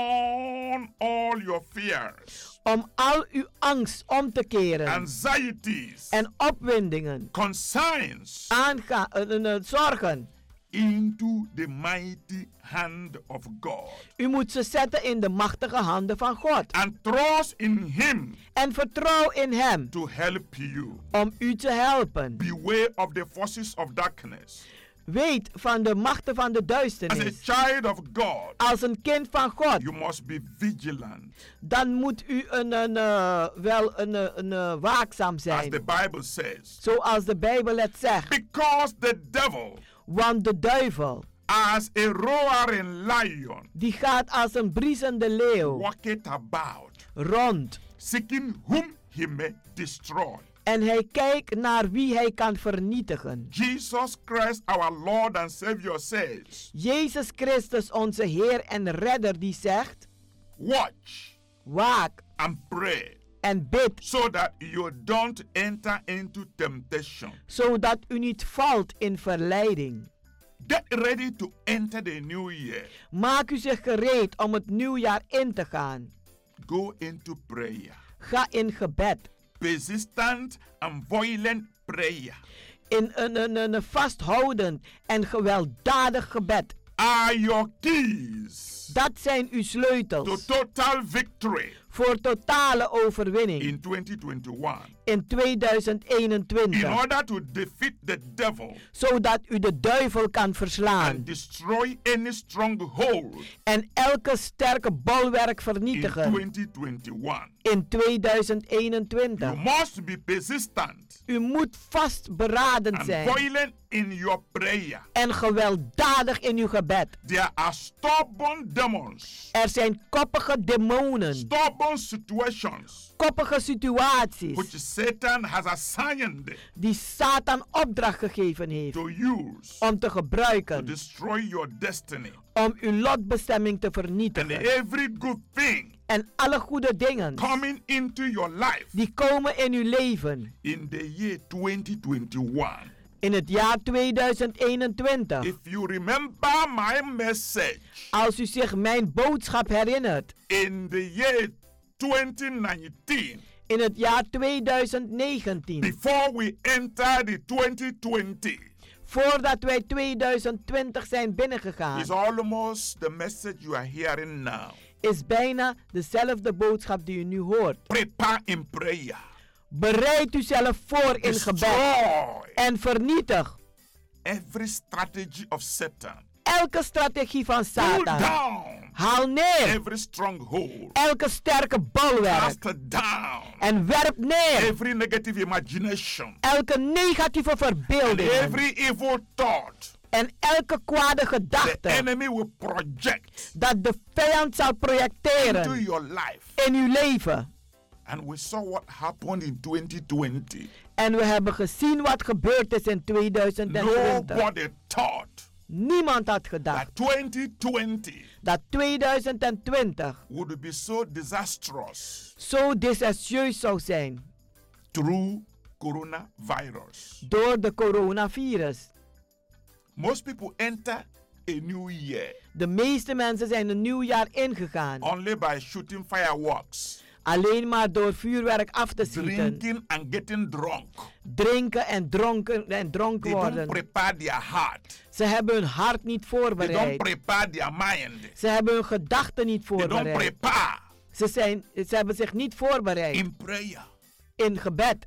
Speaker 11: turn all your fears,
Speaker 12: om al uw angst om te keren
Speaker 11: anxieties,
Speaker 12: en opwindingen,
Speaker 11: concerns
Speaker 12: aangaan, eh, zorgen.
Speaker 11: into the mighty hand of God
Speaker 12: U moet ze zetten in de machtige handen van God
Speaker 11: and trust in Him
Speaker 12: en vertrouw in Hem
Speaker 11: to help you.
Speaker 12: om u te helpen.
Speaker 11: Beware of the forces of darkness.
Speaker 12: Weet van de machten van de
Speaker 11: As a
Speaker 12: duisternis.
Speaker 11: child of God,
Speaker 12: Als een kind van God,
Speaker 11: you must be vigilant.
Speaker 12: dan moet u een, een, eh, wel een, eh, een, eh, waakzaam
Speaker 11: As
Speaker 12: zijn.
Speaker 11: the Bible says,
Speaker 12: Zoals de Bijbel het zegt.
Speaker 11: because the devil,
Speaker 12: Want de duivel,
Speaker 11: as a roaring lion,
Speaker 12: die gaat als een briesende leeuw
Speaker 11: walketh about,
Speaker 12: rond.
Speaker 11: seeking whom he may destroy.
Speaker 12: En hij kijkt naar wie hij kan vernietigen.
Speaker 11: Jesus Christ, our Lord and Savior, says,
Speaker 12: Jezus Christus, onze Heer en Redder, die zegt:
Speaker 11: Watch
Speaker 12: Waak
Speaker 11: and pray
Speaker 12: en bid,
Speaker 11: so that you don't enter into temptation.
Speaker 12: zodat u niet valt in verleiding.
Speaker 11: Get ready to enter the new year.
Speaker 12: Maak u zich gereed om het nieuwjaar in te gaan.
Speaker 11: Go into prayer.
Speaker 12: Ga in gebed,
Speaker 11: Persistent and violent prayer.
Speaker 12: in een, een, een een vasthoudend en gewelddadig gebed.
Speaker 11: Are your keys
Speaker 12: Dat zijn uw
Speaker 11: to
Speaker 12: sleutels
Speaker 11: total victory
Speaker 12: voor totale overwinning
Speaker 11: in 2021
Speaker 12: in
Speaker 11: in
Speaker 12: 2021.
Speaker 11: order to defeat the devil
Speaker 12: Zodat u de duivel kan verslaan
Speaker 11: and destroy any stronghold
Speaker 12: en elke sterke bolwerk
Speaker 11: in
Speaker 12: vernietigen
Speaker 11: 2021.
Speaker 12: in
Speaker 11: You
Speaker 12: 2021.
Speaker 11: must be persistent
Speaker 12: U moet vastberaden
Speaker 11: and
Speaker 12: zijn
Speaker 11: violent in your prayer.
Speaker 12: en gewelddadig in uw gebed.
Speaker 11: There are stubborn demons,
Speaker 12: Er zijn koppige demonen,
Speaker 11: stubborn situations
Speaker 12: koppige
Speaker 11: which
Speaker 12: situaties
Speaker 11: Satan has assigned
Speaker 12: die Satan opdracht gegeven heeft
Speaker 11: to use
Speaker 12: om te
Speaker 11: to
Speaker 12: gebruiken
Speaker 11: destroy your destiny.
Speaker 12: om uw lotbestemming te
Speaker 11: And
Speaker 12: vernietigen.
Speaker 11: every good thing
Speaker 12: En alle goede dingen
Speaker 11: coming into your life
Speaker 12: die komen in uw leven
Speaker 11: in the year 2021.
Speaker 12: in het jaar 2021.
Speaker 11: If you remember my message
Speaker 12: Als u zich mijn boodschap herinnert
Speaker 11: in the year 2019,
Speaker 12: in het jaar 2019,
Speaker 11: before we enter the 2020,
Speaker 12: voordat wij 2020 zijn
Speaker 11: is
Speaker 12: binnengegaan,
Speaker 11: almost the message you are hearing now.
Speaker 12: is bijna dezelfde boodschap die u nu hoort.
Speaker 11: Prepare in prayer.
Speaker 12: Bereid uzelf voor in gebed
Speaker 11: Destroy
Speaker 12: en vernietig
Speaker 11: every strategy of Satan.
Speaker 12: elke strategie van
Speaker 11: Pull
Speaker 12: Satan.
Speaker 11: down
Speaker 12: Haal neer
Speaker 11: every stronghold.
Speaker 12: elke sterke bolwerk
Speaker 11: Cast down
Speaker 12: en werp neer
Speaker 11: every negative imagination.
Speaker 12: elke negatieve
Speaker 11: And
Speaker 12: verbeelding
Speaker 11: every evil thought
Speaker 12: en elke kwade
Speaker 11: the
Speaker 12: gedachte
Speaker 11: enemy will project
Speaker 12: dat de vijand zal
Speaker 11: into
Speaker 12: projecteren
Speaker 11: your life.
Speaker 12: in uw leven.
Speaker 11: And we saw what happened in 2020.
Speaker 12: En we hebben gezien wat gebeurd is in 2020.
Speaker 11: Nobody thought
Speaker 12: Niemand had
Speaker 11: that
Speaker 12: gedacht
Speaker 11: 2020
Speaker 12: dat 2020
Speaker 11: would be so disastrous
Speaker 12: zo desastreus zou zijn
Speaker 11: through coronavirus.
Speaker 12: door de coronavirus.
Speaker 11: Most people enter a new year
Speaker 12: De meeste mensen zijn een nieuw jaar ingegaan.
Speaker 11: only by shooting fireworks,
Speaker 12: Alleen maar door vuurwerk af te schieten.
Speaker 11: drinking and getting drunk.
Speaker 12: Drinken en dronken en dronken
Speaker 11: They don't
Speaker 12: worden.
Speaker 11: prepare their heart.
Speaker 12: Ze hebben hun hart niet
Speaker 11: They don't
Speaker 12: voorbereid.
Speaker 11: prepare their mind.
Speaker 12: Ze hebben hun gedachten niet
Speaker 11: They don't
Speaker 12: voorbereid.
Speaker 11: prepare
Speaker 12: Ze, zijn, ze hebben zich niet voorbereid
Speaker 11: in prayer
Speaker 12: in gebed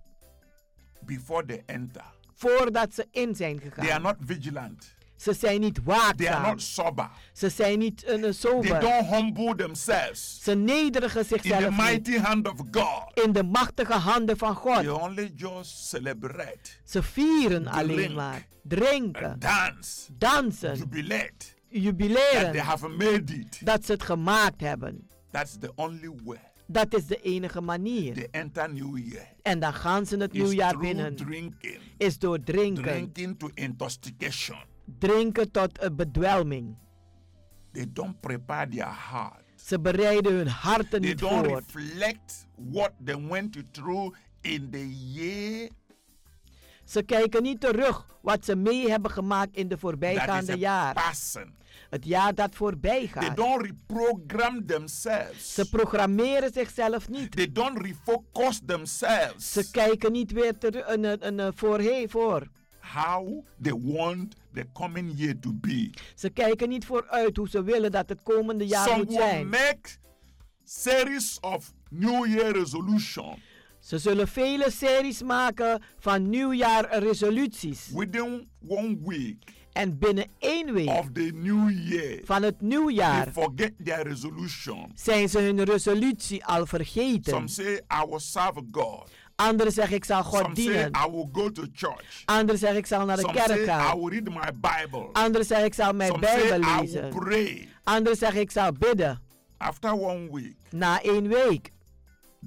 Speaker 11: before they enter.
Speaker 12: voordat ze in zijn
Speaker 11: They are
Speaker 12: gegaan.
Speaker 11: not vigilant.
Speaker 12: Ze zijn niet
Speaker 11: They are
Speaker 12: waakzaam.
Speaker 11: not sober.
Speaker 12: Ze zijn niet eh, eh,
Speaker 11: They
Speaker 12: sober.
Speaker 11: don't humble themselves.
Speaker 12: Ze nederigen
Speaker 11: In the
Speaker 12: zichzelf niet
Speaker 11: mighty hand of God.
Speaker 12: in de machtige handen van
Speaker 11: They
Speaker 12: God.
Speaker 11: only just celebrate,
Speaker 12: Ze vieren
Speaker 11: Drink. Eh,
Speaker 12: alleen maar. Drinken,
Speaker 11: dance,
Speaker 12: dansen,
Speaker 11: jubilate. That they
Speaker 12: jubileren.
Speaker 11: have made it.
Speaker 12: Dat ze het gemaakt hebben.
Speaker 11: That's the only way.
Speaker 12: Dat is de enige manier.
Speaker 11: They enter new year.
Speaker 12: En dan gaan ze het
Speaker 11: It's
Speaker 12: nieuwjaar
Speaker 11: through
Speaker 12: binnen.
Speaker 11: drinking.
Speaker 12: Is door drinken.
Speaker 11: Drinking to intoxication.
Speaker 12: Drinken tot een bedwelming.
Speaker 11: They don't prepare their heart.
Speaker 12: Ze bereiden hun harten
Speaker 11: They
Speaker 12: niet
Speaker 11: don't
Speaker 12: voor.
Speaker 11: reflect what they went through in the year
Speaker 12: Ze kijken niet terug wat ze mee hebben gemaakt in de
Speaker 11: that is
Speaker 12: voorbijgaande
Speaker 11: a
Speaker 12: jaar.
Speaker 11: passing.
Speaker 12: Het jaar dat voorbij
Speaker 11: They
Speaker 12: gaat.
Speaker 11: don't reprogram themselves.
Speaker 12: Ze programmeren zichzelf niet.
Speaker 11: They don't refocus themselves
Speaker 12: Ze kijken niet weer ter, een, een, een, eh, voorheen voor.
Speaker 11: how they want the coming year to be.
Speaker 12: Ze kijken niet vooruit hoe ze willen dat het komende jaar
Speaker 11: Some
Speaker 12: moet
Speaker 11: will
Speaker 12: zijn.
Speaker 11: make series of New Year resolution
Speaker 12: Ze zullen vele series maken van nieuwjaarresoluties.
Speaker 11: within one week
Speaker 12: En binnen één week
Speaker 11: of the new year.
Speaker 12: van het
Speaker 11: They
Speaker 12: nieuwjaar
Speaker 11: forget their resolution.
Speaker 12: zijn ze hun resolutie al vergeten.
Speaker 11: Some say I will serve God.
Speaker 12: Anderen zeggen ik zal
Speaker 11: Some
Speaker 12: God
Speaker 11: say
Speaker 12: dienen.
Speaker 11: I will go to church.
Speaker 12: Anderen zeggen ik zal naar de
Speaker 11: Some say
Speaker 12: kerk
Speaker 11: I
Speaker 12: gaan.
Speaker 11: will read my Bible.
Speaker 12: Anderen zeggen ik zal mijn
Speaker 11: Some say
Speaker 12: Bijbel
Speaker 11: I will
Speaker 12: lezen.
Speaker 11: pray.
Speaker 12: Anderen zeggen ik zal bidden.
Speaker 11: After one week,
Speaker 12: Na één week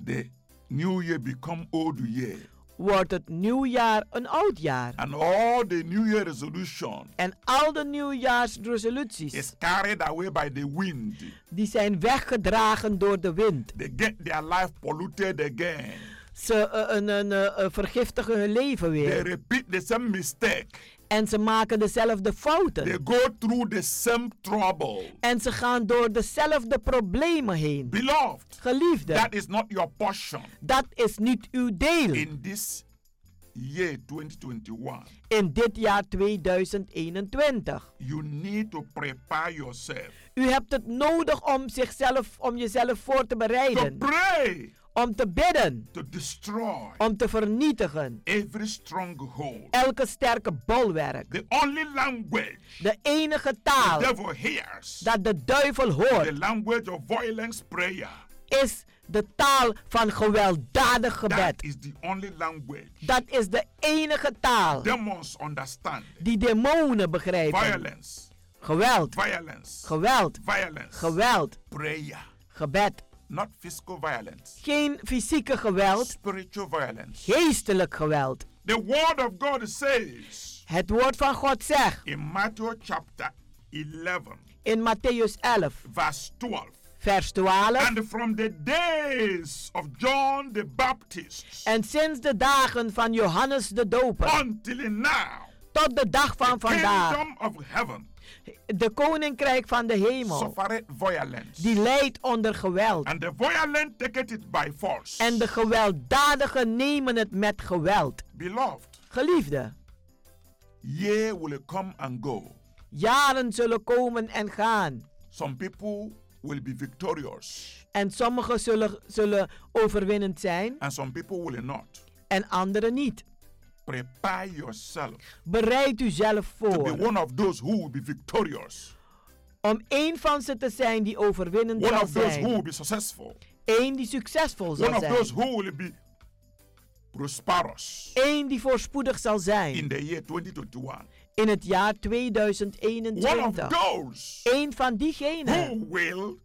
Speaker 11: the new year become old year.
Speaker 12: wordt het nieuwjaar een oud jaar.
Speaker 11: And all the new year resolution
Speaker 12: En al de nieuwjaarsresoluties
Speaker 11: is carried away by the wind.
Speaker 12: die zijn weggedragen door de wind.
Speaker 11: They get their life polluted again.
Speaker 12: Ze eh, een- een, eh, eh, vergiftigen hun leven
Speaker 11: They
Speaker 12: weer.
Speaker 11: repeat the same mistake.
Speaker 12: En ze maken dezelfde
Speaker 11: They
Speaker 12: fouten.
Speaker 11: go through the same trouble.
Speaker 12: En ze gaan door dezelfde problemen heen.
Speaker 11: Beloved,
Speaker 12: Geliefde,
Speaker 11: that is not your portion
Speaker 12: dat is niet uw deel
Speaker 11: in this year 2021.
Speaker 12: in dit jaar 2021.
Speaker 11: You need to prepare yourself
Speaker 12: U hebt het nodig om, zichzelf, om jezelf voor te
Speaker 11: to
Speaker 12: bereiden.
Speaker 11: pray
Speaker 12: Om te bidden.
Speaker 11: to destroy
Speaker 12: Om te vernietigen.
Speaker 11: every stronghold.
Speaker 12: Elke sterke bolwerk.
Speaker 11: The only language
Speaker 12: De enige
Speaker 11: the
Speaker 12: taal
Speaker 11: devil hears,
Speaker 12: dat de duivel hoort.
Speaker 11: the language of violence prayer.
Speaker 12: is de taal van gewelddadig
Speaker 11: That
Speaker 12: gebed.
Speaker 11: is the only language
Speaker 12: Dat is de enige taal
Speaker 11: demons understand.
Speaker 12: die demonen begrijpen.
Speaker 11: Violence,
Speaker 12: Geweld,
Speaker 11: violence,
Speaker 12: geweld,
Speaker 11: violence,
Speaker 12: geweld,
Speaker 11: prayer.
Speaker 12: gebed.
Speaker 11: Not physical violence,
Speaker 12: Geen fysieke geweld,
Speaker 11: spiritual violence.
Speaker 12: geestelijk geweld.
Speaker 11: The word of God says
Speaker 12: Het woord van God zegt
Speaker 11: in Matthew chapter 11,
Speaker 12: in Matthäus 11,
Speaker 11: verse 12.
Speaker 12: vers 12.
Speaker 11: And from the days of John the Baptist
Speaker 12: En sinds de dagen van Johannes de Doper
Speaker 11: until now,
Speaker 12: tot de dag van vandaag,
Speaker 11: kingdom of heaven
Speaker 12: de koninkrijk van de hemel,
Speaker 11: suffered violence.
Speaker 12: die leidt onder geweld.
Speaker 11: And the violent take it by force.
Speaker 12: En de gewelddadigen nemen het met geweld.
Speaker 11: Beloved,
Speaker 12: Geliefde,
Speaker 11: year will come and go.
Speaker 12: jaren zullen komen en gaan.
Speaker 11: Some people will be victorious,
Speaker 12: En sommigen zullen, zullen overwinnend zijn
Speaker 11: and some people will not.
Speaker 12: en anderen niet.
Speaker 11: Prepare yourself
Speaker 12: Bereid u zelf
Speaker 11: to be
Speaker 12: voor
Speaker 11: one of those who will be victorious,
Speaker 12: om één van ze te zijn die overwinnend
Speaker 11: one
Speaker 12: zal
Speaker 11: of those who
Speaker 12: zijn.
Speaker 11: will be successful,
Speaker 12: Eén die succesvol
Speaker 11: one
Speaker 12: zal
Speaker 11: of those
Speaker 12: zijn.
Speaker 11: who will be prosperous
Speaker 12: Eén die voorspoedig zal
Speaker 11: in
Speaker 12: zijn
Speaker 11: the year 2021,
Speaker 12: in het jaar
Speaker 11: one of
Speaker 12: 2021.
Speaker 11: those
Speaker 12: Eén van
Speaker 11: who
Speaker 12: diegenen
Speaker 11: will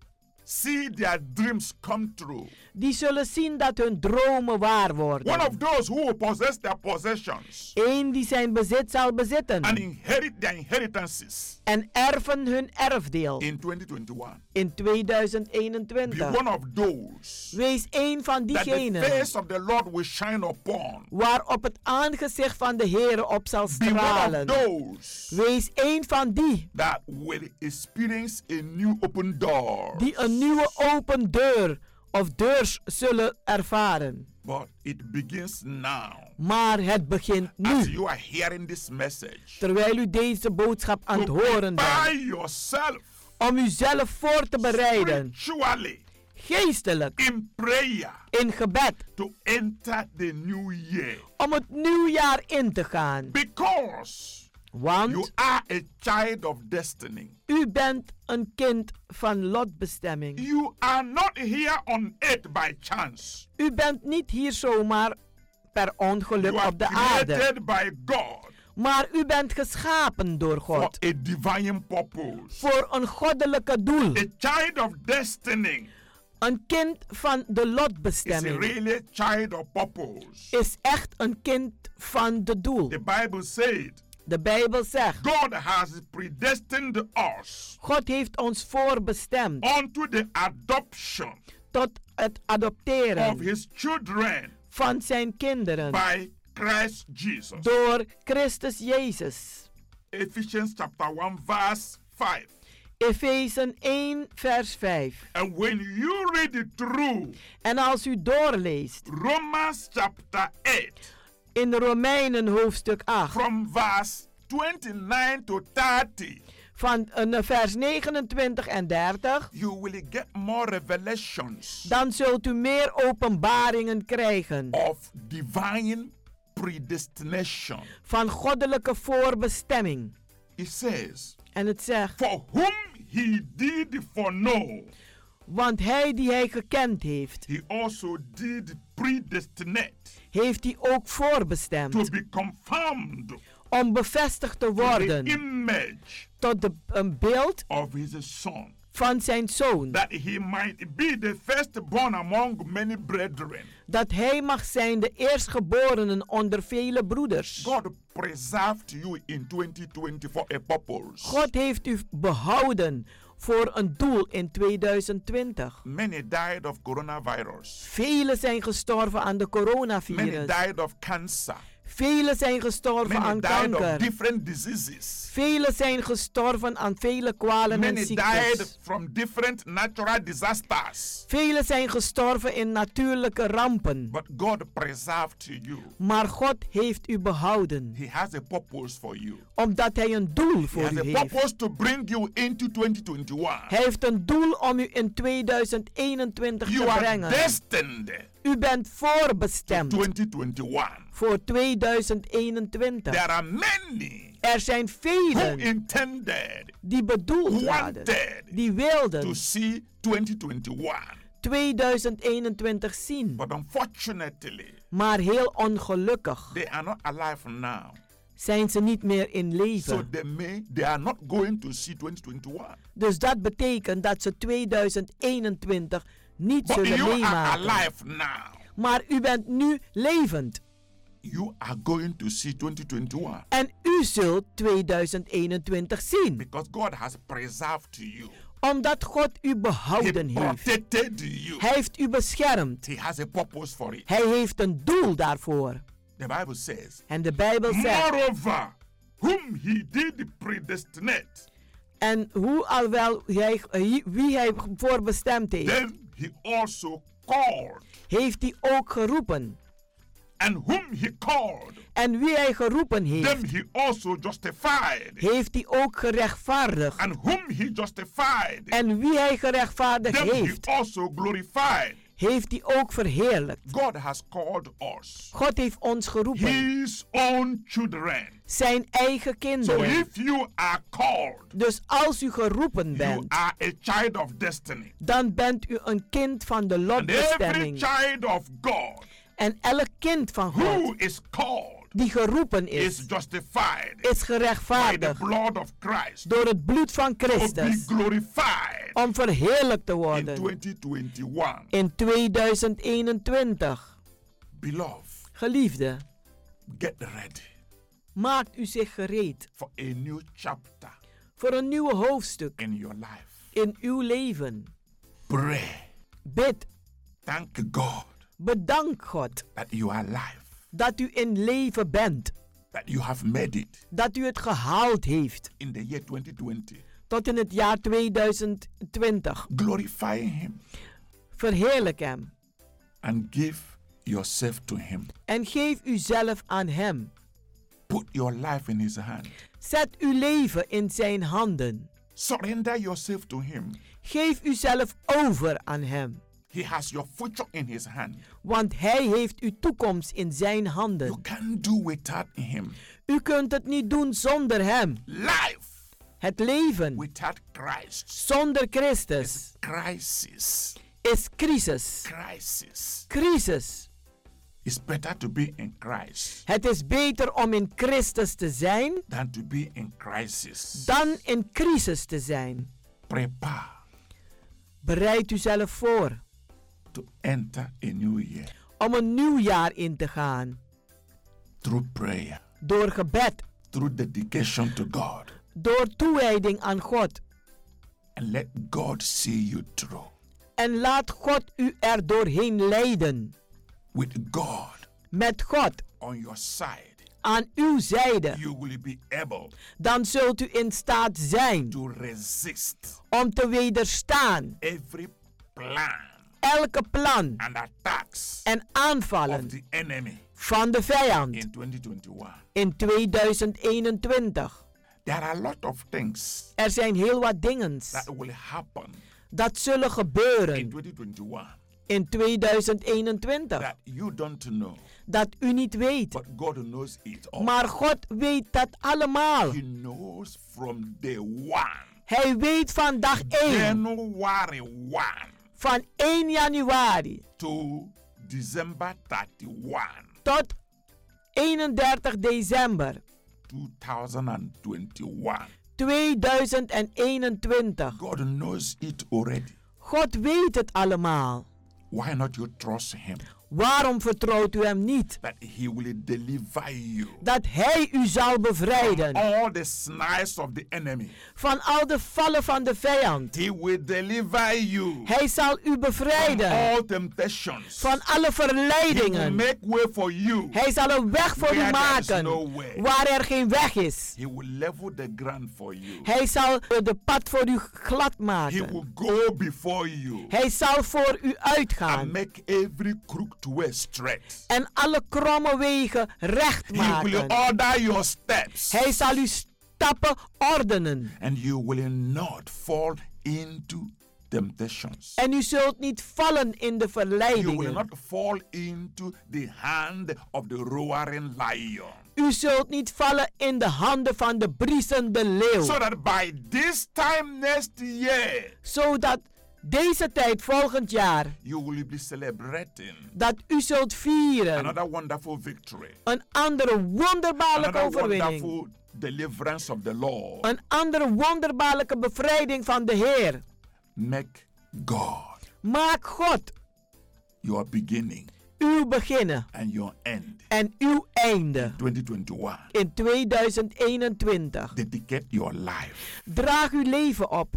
Speaker 11: see their dreams come true,
Speaker 12: die zullen zien dat hun dromen waar
Speaker 11: one
Speaker 12: worden.
Speaker 11: of those who will possess their possessions
Speaker 12: Eén die zijn bezit zal
Speaker 11: and
Speaker 12: bezitten.
Speaker 11: inherit their inheritances
Speaker 12: en erven hun erfdeel
Speaker 11: in 2021.
Speaker 12: in
Speaker 11: Be
Speaker 12: 2021.
Speaker 11: one of those
Speaker 12: Wees een van
Speaker 11: that the
Speaker 12: diegenen
Speaker 11: face of the Lord will shine upon.
Speaker 12: waarop het aangezicht van de Heer op zal
Speaker 11: Be one of
Speaker 12: stralen.
Speaker 11: those
Speaker 12: Wees een van die
Speaker 11: that will experience a new open door.
Speaker 12: die een nieuwe open deur of deurs zullen ervaren.
Speaker 11: But it begins now.
Speaker 12: Maar het begint
Speaker 11: As
Speaker 12: nu,
Speaker 11: you are hearing this message,
Speaker 12: terwijl u deze boodschap aan het
Speaker 11: to
Speaker 12: horen
Speaker 11: prepare
Speaker 12: bent,
Speaker 11: yourself
Speaker 12: om uzelf voor te bereiden,
Speaker 11: spiritually
Speaker 12: geestelijk,
Speaker 11: in prayer
Speaker 12: in gebed,
Speaker 11: to enter the new year
Speaker 12: om het nieuwjaar in te gaan.
Speaker 11: because
Speaker 12: Want
Speaker 11: you are a child of destiny.
Speaker 12: U bent een kind van lotbestemming.
Speaker 11: You are not here on earth by chance.
Speaker 12: U bent niet hier zomaar per ongeluk
Speaker 11: you are
Speaker 12: op de
Speaker 11: created
Speaker 12: aarde.
Speaker 11: by God
Speaker 12: Maar u bent geschapen door God.
Speaker 11: for a divine purpose.
Speaker 12: Voor een goddelijke doel.
Speaker 11: A child of destiny
Speaker 12: Een kind van de
Speaker 11: is a
Speaker 12: lotbestemming.
Speaker 11: really child of purpose.
Speaker 12: Is echt een kind van de doel.
Speaker 11: The Bible said
Speaker 12: De Bijbel zegt.
Speaker 11: God has predestined us
Speaker 12: God heeft ons voorbestemd
Speaker 11: unto the adoption
Speaker 12: tot het
Speaker 11: of
Speaker 12: adopteren
Speaker 11: his children
Speaker 12: van zijn kinderen
Speaker 11: by Christ Jesus.
Speaker 12: door Christus Jezus.
Speaker 11: Ephesians chapter 1 verse 5.
Speaker 12: Efezen 1, vers 5.
Speaker 11: And when you read it through
Speaker 12: En als u doorleest
Speaker 11: Romans chapter 8
Speaker 12: in Romeinen hoofdstuk 8,
Speaker 11: from verse 29 to 30,
Speaker 12: van eh, vers 29 en 30,
Speaker 11: you will get more revelations
Speaker 12: dan zult u meer openbaringen krijgen
Speaker 11: of divine predestination.
Speaker 12: van goddelijke voorbestemming.
Speaker 11: It says,
Speaker 12: En het zegt,
Speaker 11: For whom he did foreknow,
Speaker 12: want hij die hij gekend heeft,
Speaker 11: he also did predestinate
Speaker 12: heeft hij ook
Speaker 11: to
Speaker 12: voorbestemd
Speaker 11: be conformed
Speaker 12: om bevestigd te
Speaker 11: to the
Speaker 12: worden
Speaker 11: image
Speaker 12: tot de, een beeld
Speaker 11: of his son,
Speaker 12: van zijn zoon,
Speaker 11: that he might be the firstborn among many brethren.
Speaker 12: dat hij mag zijn de eerstgeborenen onder vele broeders.
Speaker 11: God preserved you in 2020 for a purpose.
Speaker 12: God heeft u behouden voor een doel in 2020.
Speaker 11: Many died of coronavirus.
Speaker 12: Velen zijn gestorven aan de
Speaker 11: Many
Speaker 12: coronavirus.
Speaker 11: died of cancer.
Speaker 12: Velen zijn gestorven
Speaker 11: Many
Speaker 12: aan
Speaker 11: died of
Speaker 12: kanker.
Speaker 11: different diseases.
Speaker 12: Velen zijn gestorven aan vele kwalen en
Speaker 11: Many died
Speaker 12: ziektes.
Speaker 11: from different natural disasters.
Speaker 12: Velen zijn gestorven in natuurlijke rampen.
Speaker 11: But God preserved you.
Speaker 12: Maar God heeft u behouden.
Speaker 11: He has a purpose for you.
Speaker 12: Omdat hij een doel
Speaker 11: He
Speaker 12: voor
Speaker 11: has
Speaker 12: u
Speaker 11: a
Speaker 12: heeft.
Speaker 11: purpose to bring you into 2021.
Speaker 12: Hij heeft een doel om u in 2021
Speaker 11: You
Speaker 12: te
Speaker 11: are
Speaker 12: brengen.
Speaker 11: destined
Speaker 12: U bent
Speaker 11: to
Speaker 12: voorbestemd
Speaker 11: 2021.
Speaker 12: voor 2021.
Speaker 11: There are many
Speaker 12: Er zijn
Speaker 11: who
Speaker 12: velen
Speaker 11: intended
Speaker 12: die bedoeld waren,
Speaker 11: wanted
Speaker 12: die wilden
Speaker 11: to see 2021.
Speaker 12: 2021 zien.
Speaker 11: But unfortunately,
Speaker 12: Maar heel ongelukkig
Speaker 11: they are not alive now.
Speaker 12: zijn ze niet meer in
Speaker 11: So
Speaker 12: leven.
Speaker 11: they may they are not going to see 2021.
Speaker 12: Dus dat betekent dat ze 2021 niet
Speaker 11: But
Speaker 12: zullen
Speaker 11: you are
Speaker 12: meemaken.
Speaker 11: alive now.
Speaker 12: Maar u bent nu levend.
Speaker 11: You are going to see 2021
Speaker 12: En u zult 2021 zien.
Speaker 11: because God has preserved you.
Speaker 12: Omdat God u
Speaker 11: He
Speaker 12: behouden heeft.
Speaker 11: protected you.
Speaker 12: Hij heeft u beschermd.
Speaker 11: He has a purpose for it.
Speaker 12: Hij heeft een doel daarvoor.
Speaker 11: The Bible says,
Speaker 12: En de Bijbel zegt.
Speaker 11: Moreover, whom he did predestinate,
Speaker 12: En hoe alwel hij, wie hij voorbestemd heeft,
Speaker 11: them he also called.
Speaker 12: heeft hij ook geroepen.
Speaker 11: And whom he called,
Speaker 12: En wie hij geroepen heeft,
Speaker 11: them he also justified.
Speaker 12: heeft hij ook gerechtvaardigd.
Speaker 11: And whom he justified,
Speaker 12: En wie hij gerechtvaardigd
Speaker 11: them he
Speaker 12: heeft,
Speaker 11: also glorified.
Speaker 12: heeft hij ook verheerlijkt.
Speaker 11: God has called us
Speaker 12: God heeft ons geroepen,
Speaker 11: his own children.
Speaker 12: zijn eigen
Speaker 11: So
Speaker 12: kinderen.
Speaker 11: if you are called,
Speaker 12: Dus als u geroepen
Speaker 11: you
Speaker 12: bent,
Speaker 11: are a child of destiny.
Speaker 12: dan bent u een kind van de
Speaker 11: And every
Speaker 12: lotbestemming.
Speaker 11: child of God
Speaker 12: En elk kind van God
Speaker 11: who is called
Speaker 12: die geroepen
Speaker 11: is
Speaker 12: is,
Speaker 11: justified
Speaker 12: is
Speaker 11: by the
Speaker 12: gerechtvaardigd
Speaker 11: blood of Christ
Speaker 12: door het bloed van
Speaker 11: to be
Speaker 12: Christus
Speaker 11: glorified
Speaker 12: om verheerlijkt te
Speaker 11: in
Speaker 12: worden
Speaker 11: 2021.
Speaker 12: in 2021.
Speaker 11: Beloved,
Speaker 12: Geliefde,
Speaker 11: get ready
Speaker 12: maakt u zich gereed
Speaker 11: for a new chapter
Speaker 12: voor een nieuwe hoofdstuk
Speaker 11: in your life.
Speaker 12: in uw leven.
Speaker 11: Pray.
Speaker 12: Bid,
Speaker 11: Thank God
Speaker 12: bedank God
Speaker 11: that you are alive,
Speaker 12: dat u in leven bent,
Speaker 11: that you have made it
Speaker 12: dat u het gehaald heeft
Speaker 11: in the year 2020.
Speaker 12: tot in het jaar 2020.
Speaker 11: Glorify Him
Speaker 12: Verheerlijk Hem
Speaker 11: and give yourself to Him.
Speaker 12: en geef uzelf aan Hem.
Speaker 11: Put your life in His hand.
Speaker 12: Zet uw leven in Zijn handen.
Speaker 11: Surrender yourself to Him.
Speaker 12: Geef uzelf over aan Hem.
Speaker 11: He He has your future in his hand.
Speaker 12: Want hij heeft uw toekomst in zijn handen. You
Speaker 11: can't do without him.
Speaker 12: U kunt het niet doen zonder hem.
Speaker 11: Life.
Speaker 12: Het leven.
Speaker 11: Without Christ.
Speaker 12: Zonder Christus. Is
Speaker 11: crisis.
Speaker 12: Is crisis.
Speaker 11: Crisis.
Speaker 12: Crisis.
Speaker 11: It's better to be in Christ.
Speaker 12: Het is beter om in Christus te zijn.
Speaker 11: Than to be in crisis.
Speaker 12: Dan in crisis te zijn.
Speaker 11: Prepare.
Speaker 12: Bereid uzelf voor.
Speaker 11: To enter a new year.
Speaker 12: Om een nieuw jaar in te gaan.
Speaker 11: Through prayer.
Speaker 12: Door gebed.
Speaker 11: Through dedication to God.
Speaker 12: Door toewijding aan God.
Speaker 11: And let God see you through.
Speaker 12: En laat God u er doorheen leiden.
Speaker 11: With God.
Speaker 12: Met God.
Speaker 11: On your side.
Speaker 12: Aan uw zijde.
Speaker 11: You will be able
Speaker 12: dan zult u in staat zijn.
Speaker 11: To resist.
Speaker 12: Om te wederstaan.
Speaker 11: Every plan
Speaker 12: elke plan
Speaker 11: and attacks
Speaker 12: en aanvallen
Speaker 11: of the enemy
Speaker 12: van de vijand
Speaker 11: in 2021.
Speaker 12: In 2021.
Speaker 11: There are a lot of things
Speaker 12: er zijn heel wat dingen
Speaker 11: that will happen
Speaker 12: dat zullen gebeuren
Speaker 11: in 2021.
Speaker 12: In 2021.
Speaker 11: That you don't know.
Speaker 12: Dat u niet weet.
Speaker 11: But God knows it all.
Speaker 12: Maar God weet dat allemaal.
Speaker 11: He knows from day one.
Speaker 12: Hij weet van dag 1.
Speaker 11: January 1
Speaker 12: van 1 januari
Speaker 11: to December 31
Speaker 12: tot 31 december
Speaker 11: 2021.
Speaker 12: 2021.
Speaker 11: God knows it already.
Speaker 12: God weet het allemaal.
Speaker 11: Why not you trust him?
Speaker 12: Waarom vertrouwt u hem niet?
Speaker 11: That he will deliver you.
Speaker 12: Dat hij u zal bevrijden.
Speaker 11: From all the snares of the enemy.
Speaker 12: Van al de vallen van de vijand.
Speaker 11: He will deliver you.
Speaker 12: Hij zal u bevrijden.
Speaker 11: From all temptations.
Speaker 12: Van alle verleidingen.
Speaker 11: He will make way for you.
Speaker 12: Hij zal een weg voor
Speaker 11: Where
Speaker 12: u maken.
Speaker 11: No way.
Speaker 12: Waar er geen weg is.
Speaker 11: He will level the ground for you.
Speaker 12: Hij zal de pad voor u glad maken.
Speaker 11: He will go before you.
Speaker 12: Hij zal voor u uitgaan.
Speaker 11: And make every crook
Speaker 12: en alle kromme wegen recht maken.
Speaker 11: He will order your steps.
Speaker 12: Hij zal uw stappen ordenen.
Speaker 11: And you will not fall into temptations.
Speaker 12: En u zult niet vallen in de verleidingen.
Speaker 11: You will not fall into the hand of the roaring lion.
Speaker 12: U zult niet vallen in de handen van de briesende leeuw.
Speaker 11: Zodat by this time next year.
Speaker 12: Zodat deze tijd volgend jaar
Speaker 11: you will be celebrating
Speaker 12: dat u zult vieren
Speaker 11: another wonderful victory,
Speaker 12: een andere wonderbaarlijke
Speaker 11: another
Speaker 12: overwinning,
Speaker 11: wonderful deliverance of the Lord.
Speaker 12: een andere wonderbaarlijke bevrijding van de Heer.
Speaker 11: Make God
Speaker 12: Maak God
Speaker 11: your beginning,
Speaker 12: uw beginnen
Speaker 11: and your end.
Speaker 12: en uw einde
Speaker 11: 2021.
Speaker 12: in 2021.
Speaker 11: Dedicate your life.
Speaker 12: Draag uw leven op.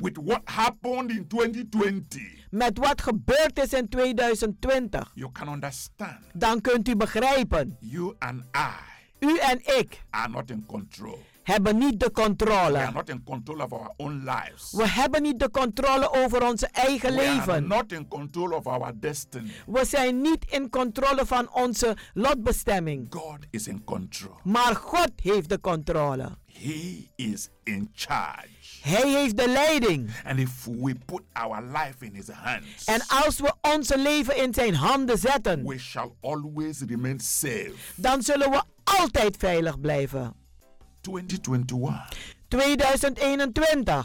Speaker 11: with what happened in 2020.
Speaker 12: Met wat gebeurd is in 2020.
Speaker 11: You can understand.
Speaker 12: Dan kunt u begrijpen.
Speaker 11: You and I.
Speaker 12: U en ik.
Speaker 11: Are not in control.
Speaker 12: Hebben niet de controle.
Speaker 11: We, are not in control of our own lives.
Speaker 12: We hebben niet de controle over onze eigen
Speaker 11: We
Speaker 12: leven.
Speaker 11: Are not in control of our destiny.
Speaker 12: We zijn niet in controle van onze lotbestemming.
Speaker 11: God is in control.
Speaker 12: Maar God heeft de controle.
Speaker 11: He is in charge.
Speaker 12: Hij heeft de leiding.
Speaker 11: And if we put our life in his hands,
Speaker 12: En als we onze leven in zijn handen zetten,
Speaker 11: we shall always remain safe.
Speaker 12: dan zullen we altijd veilig blijven.
Speaker 11: 2021
Speaker 12: 2021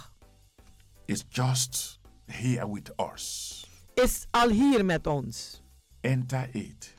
Speaker 11: is just here with us.
Speaker 12: is al hier met ons.
Speaker 11: Enter it.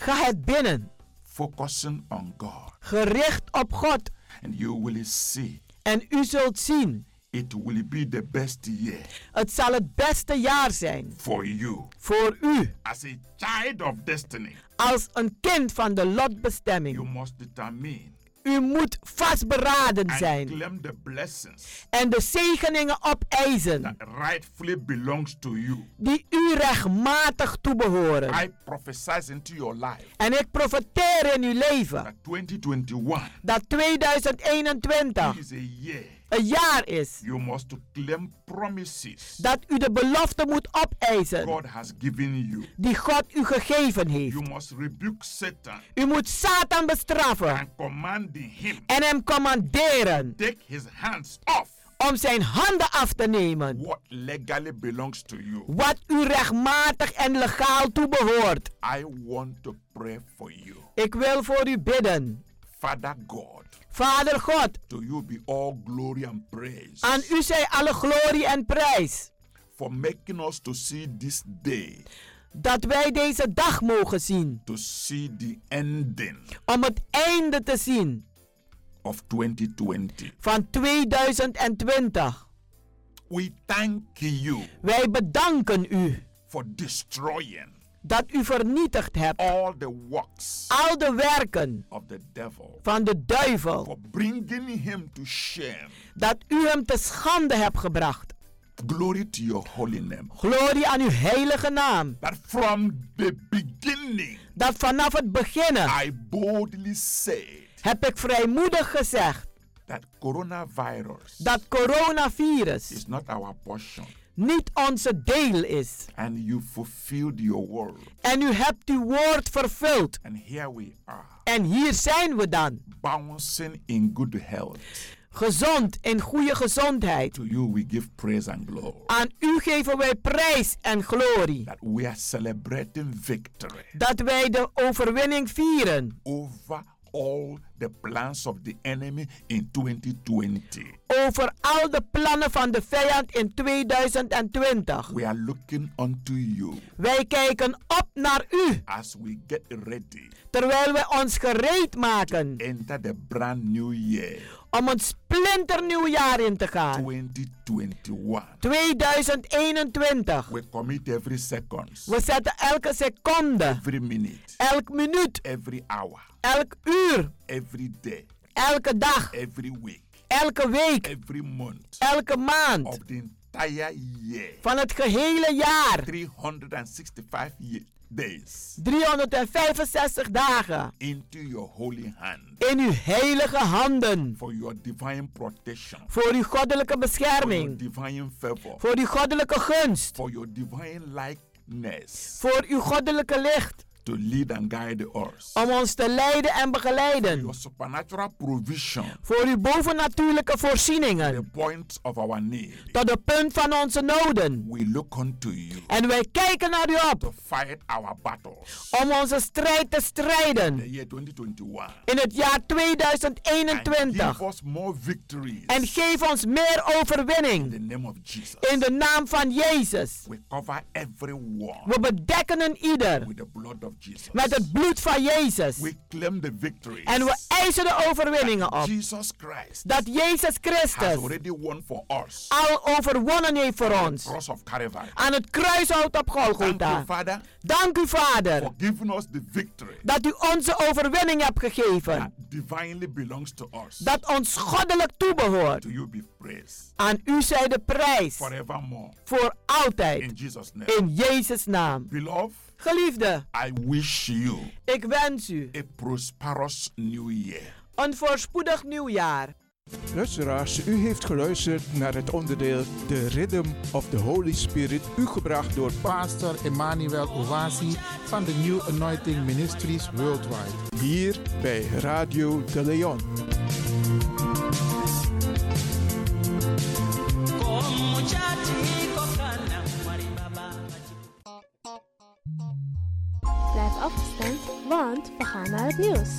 Speaker 12: Ga het binnen,
Speaker 11: Focusing on God.
Speaker 12: gericht op God.
Speaker 11: And you will see.
Speaker 12: En u zult zien,
Speaker 11: It will be the best year
Speaker 12: het zal het beste jaar zijn
Speaker 11: for you
Speaker 12: voor u.
Speaker 11: as a child of destiny.
Speaker 12: Als een kind van de
Speaker 11: You
Speaker 12: lotbestemming.
Speaker 11: must determine
Speaker 12: U moet vastberaden
Speaker 11: and
Speaker 12: zijn
Speaker 11: claim the blessings
Speaker 12: en de zegeningen opeisen
Speaker 11: that rightfully belongs to you.
Speaker 12: die u rechtmatig toebehoren.
Speaker 11: I prophesy into your life
Speaker 12: En ik profiteer in uw leven
Speaker 11: that 2021
Speaker 12: dat 2021
Speaker 11: is a year
Speaker 12: een jaar is
Speaker 11: you must claim promises
Speaker 12: dat u de belofte moet opeisen
Speaker 11: God has given you.
Speaker 12: die God u gegeven
Speaker 11: You
Speaker 12: heeft.
Speaker 11: must rebuke Satan
Speaker 12: U moet Satan bestraffen
Speaker 11: and commanding him
Speaker 12: en hem commanderen
Speaker 11: take his hands off
Speaker 12: om zijn handen af te nemen.
Speaker 11: what legally belongs to you.
Speaker 12: Wat u rechtmatig en legaal toebehoort.
Speaker 11: I want to pray for you.
Speaker 12: Ik wil voor u bidden.
Speaker 11: Father God,
Speaker 12: Vader God,
Speaker 11: to you be all glory and praise
Speaker 12: aan u zij alle glorie en prijs.
Speaker 11: for making us to see this day,
Speaker 12: Dat wij deze dag mogen zien.
Speaker 11: to see the ending
Speaker 12: Om het einde te zien
Speaker 11: of 2020.
Speaker 12: van 2020.
Speaker 11: We thank you
Speaker 12: Wij bedanken u
Speaker 11: for destroying
Speaker 12: dat u vernietigd hebt
Speaker 11: all the works
Speaker 12: al de werken
Speaker 11: of the devil,
Speaker 12: van de duivel.
Speaker 11: for bringing him to shame.
Speaker 12: Dat u hem te schande hebt gebracht.
Speaker 11: Glory to your holy name.
Speaker 12: Glorie aan uw heilige naam.
Speaker 11: But from the beginning,
Speaker 12: Dat vanaf het beginnen
Speaker 11: I boldly said
Speaker 12: heb ik vrijmoedig gezegd
Speaker 11: that coronavirus
Speaker 12: dat coronavirus
Speaker 11: is not our portion.
Speaker 12: niet onze deel is.
Speaker 11: And you fulfilled your word.
Speaker 12: En u hebt uw woord vervuld.
Speaker 11: And here we are,
Speaker 12: En hier zijn we dan.
Speaker 11: bouncing in good health.
Speaker 12: Gezond, in goede gezondheid.
Speaker 11: To you we give praise and glory.
Speaker 12: Aan u geven wij prijs en glorie.
Speaker 11: That we are celebrating victory
Speaker 12: Dat wij de overwinning vieren
Speaker 11: over all the plans of the enemy in 2020.
Speaker 12: over al de plannen van de vijand in 2020.
Speaker 11: We are looking unto you
Speaker 12: Wij kijken op naar u
Speaker 11: as we get ready
Speaker 12: terwijl wij ons gereed maken
Speaker 11: enter the brand new year
Speaker 12: om een splinternieuw jaar in te gaan.
Speaker 11: 2021.
Speaker 12: 2021.
Speaker 11: We commit every second,
Speaker 12: We zetten elke seconde,
Speaker 11: every minute,
Speaker 12: elk minuut,
Speaker 11: every hour,
Speaker 12: elk uur,
Speaker 11: every day,
Speaker 12: elke dag,
Speaker 11: every week,
Speaker 12: elke week,
Speaker 11: every month
Speaker 12: elke maand
Speaker 11: of the entire year.
Speaker 12: van het gehele jaar.
Speaker 11: 365 ye- days
Speaker 12: 365 dagen
Speaker 11: into your holy hand
Speaker 12: in uw heilige handen.
Speaker 11: for your divine protection,
Speaker 12: Voor uw goddelijke
Speaker 11: for your
Speaker 12: bescherming.
Speaker 11: divine favor,
Speaker 12: Voor uw goddelijke gunst.
Speaker 11: for your divine likeness
Speaker 12: Voor uw goddelijke licht.
Speaker 11: to lead and guide us,
Speaker 12: Om ons te leiden en begeleiden.
Speaker 11: your supernatural provision,
Speaker 12: Voor uw bovennatuurlijke
Speaker 11: the
Speaker 12: voorzieningen.
Speaker 11: point of our need.
Speaker 12: Tot de punt van onze noden.
Speaker 11: We look unto you
Speaker 12: En wij kijken naar u op.
Speaker 11: to fight our battles.
Speaker 12: om onze strijd te
Speaker 11: The
Speaker 12: strijden
Speaker 11: year 2021.
Speaker 12: in het jaar
Speaker 11: And give
Speaker 12: 2021.
Speaker 11: us more victories
Speaker 12: En geef ons meer
Speaker 11: in the
Speaker 12: overwinning
Speaker 11: name of Jesus.
Speaker 12: in de naam van Jezus.
Speaker 11: We cover everyone
Speaker 12: We bedekken een ieder
Speaker 11: with the blood of Jesus.
Speaker 12: met het bloed van Jezus.
Speaker 11: We claim the victory.
Speaker 12: En we eisen de overwinningen op.
Speaker 11: Jesus Christ
Speaker 12: Dat Jezus
Speaker 11: has
Speaker 12: Christus
Speaker 11: already won for us.
Speaker 12: al overwonnen heeft voor ons.
Speaker 11: Cross of Calvary.
Speaker 12: Aan het kruishout op
Speaker 11: Thank
Speaker 12: Golgotha.
Speaker 11: you, Father,
Speaker 12: Dank u, Vader,
Speaker 11: for giving us the victory
Speaker 12: dat u onze overwinning hebt
Speaker 11: that
Speaker 12: gegeven.
Speaker 11: divinely belongs to us.
Speaker 12: Dat ons goddelijk toebehoort.
Speaker 11: To you be praised
Speaker 12: Aan u zij de prijs.
Speaker 11: forevermore.
Speaker 12: Voor altijd.
Speaker 11: In Jesus' name.
Speaker 12: In Jezus' naam.
Speaker 11: Beloved,
Speaker 12: Geliefde,
Speaker 11: I wish you
Speaker 12: ik wens u
Speaker 11: a prosperous new year.
Speaker 12: een voorspoedig nieuwjaar.
Speaker 10: Luisteraars, u heeft geluisterd naar het onderdeel The Rhythm of the Holy Spirit, u gebracht door
Speaker 2: Pastor Emmanuel Owasi van de New Anointing Ministries Worldwide.
Speaker 10: hier bij Radio de Leon.
Speaker 7: Blijf afgestemd, want we gaan naar het nieuws.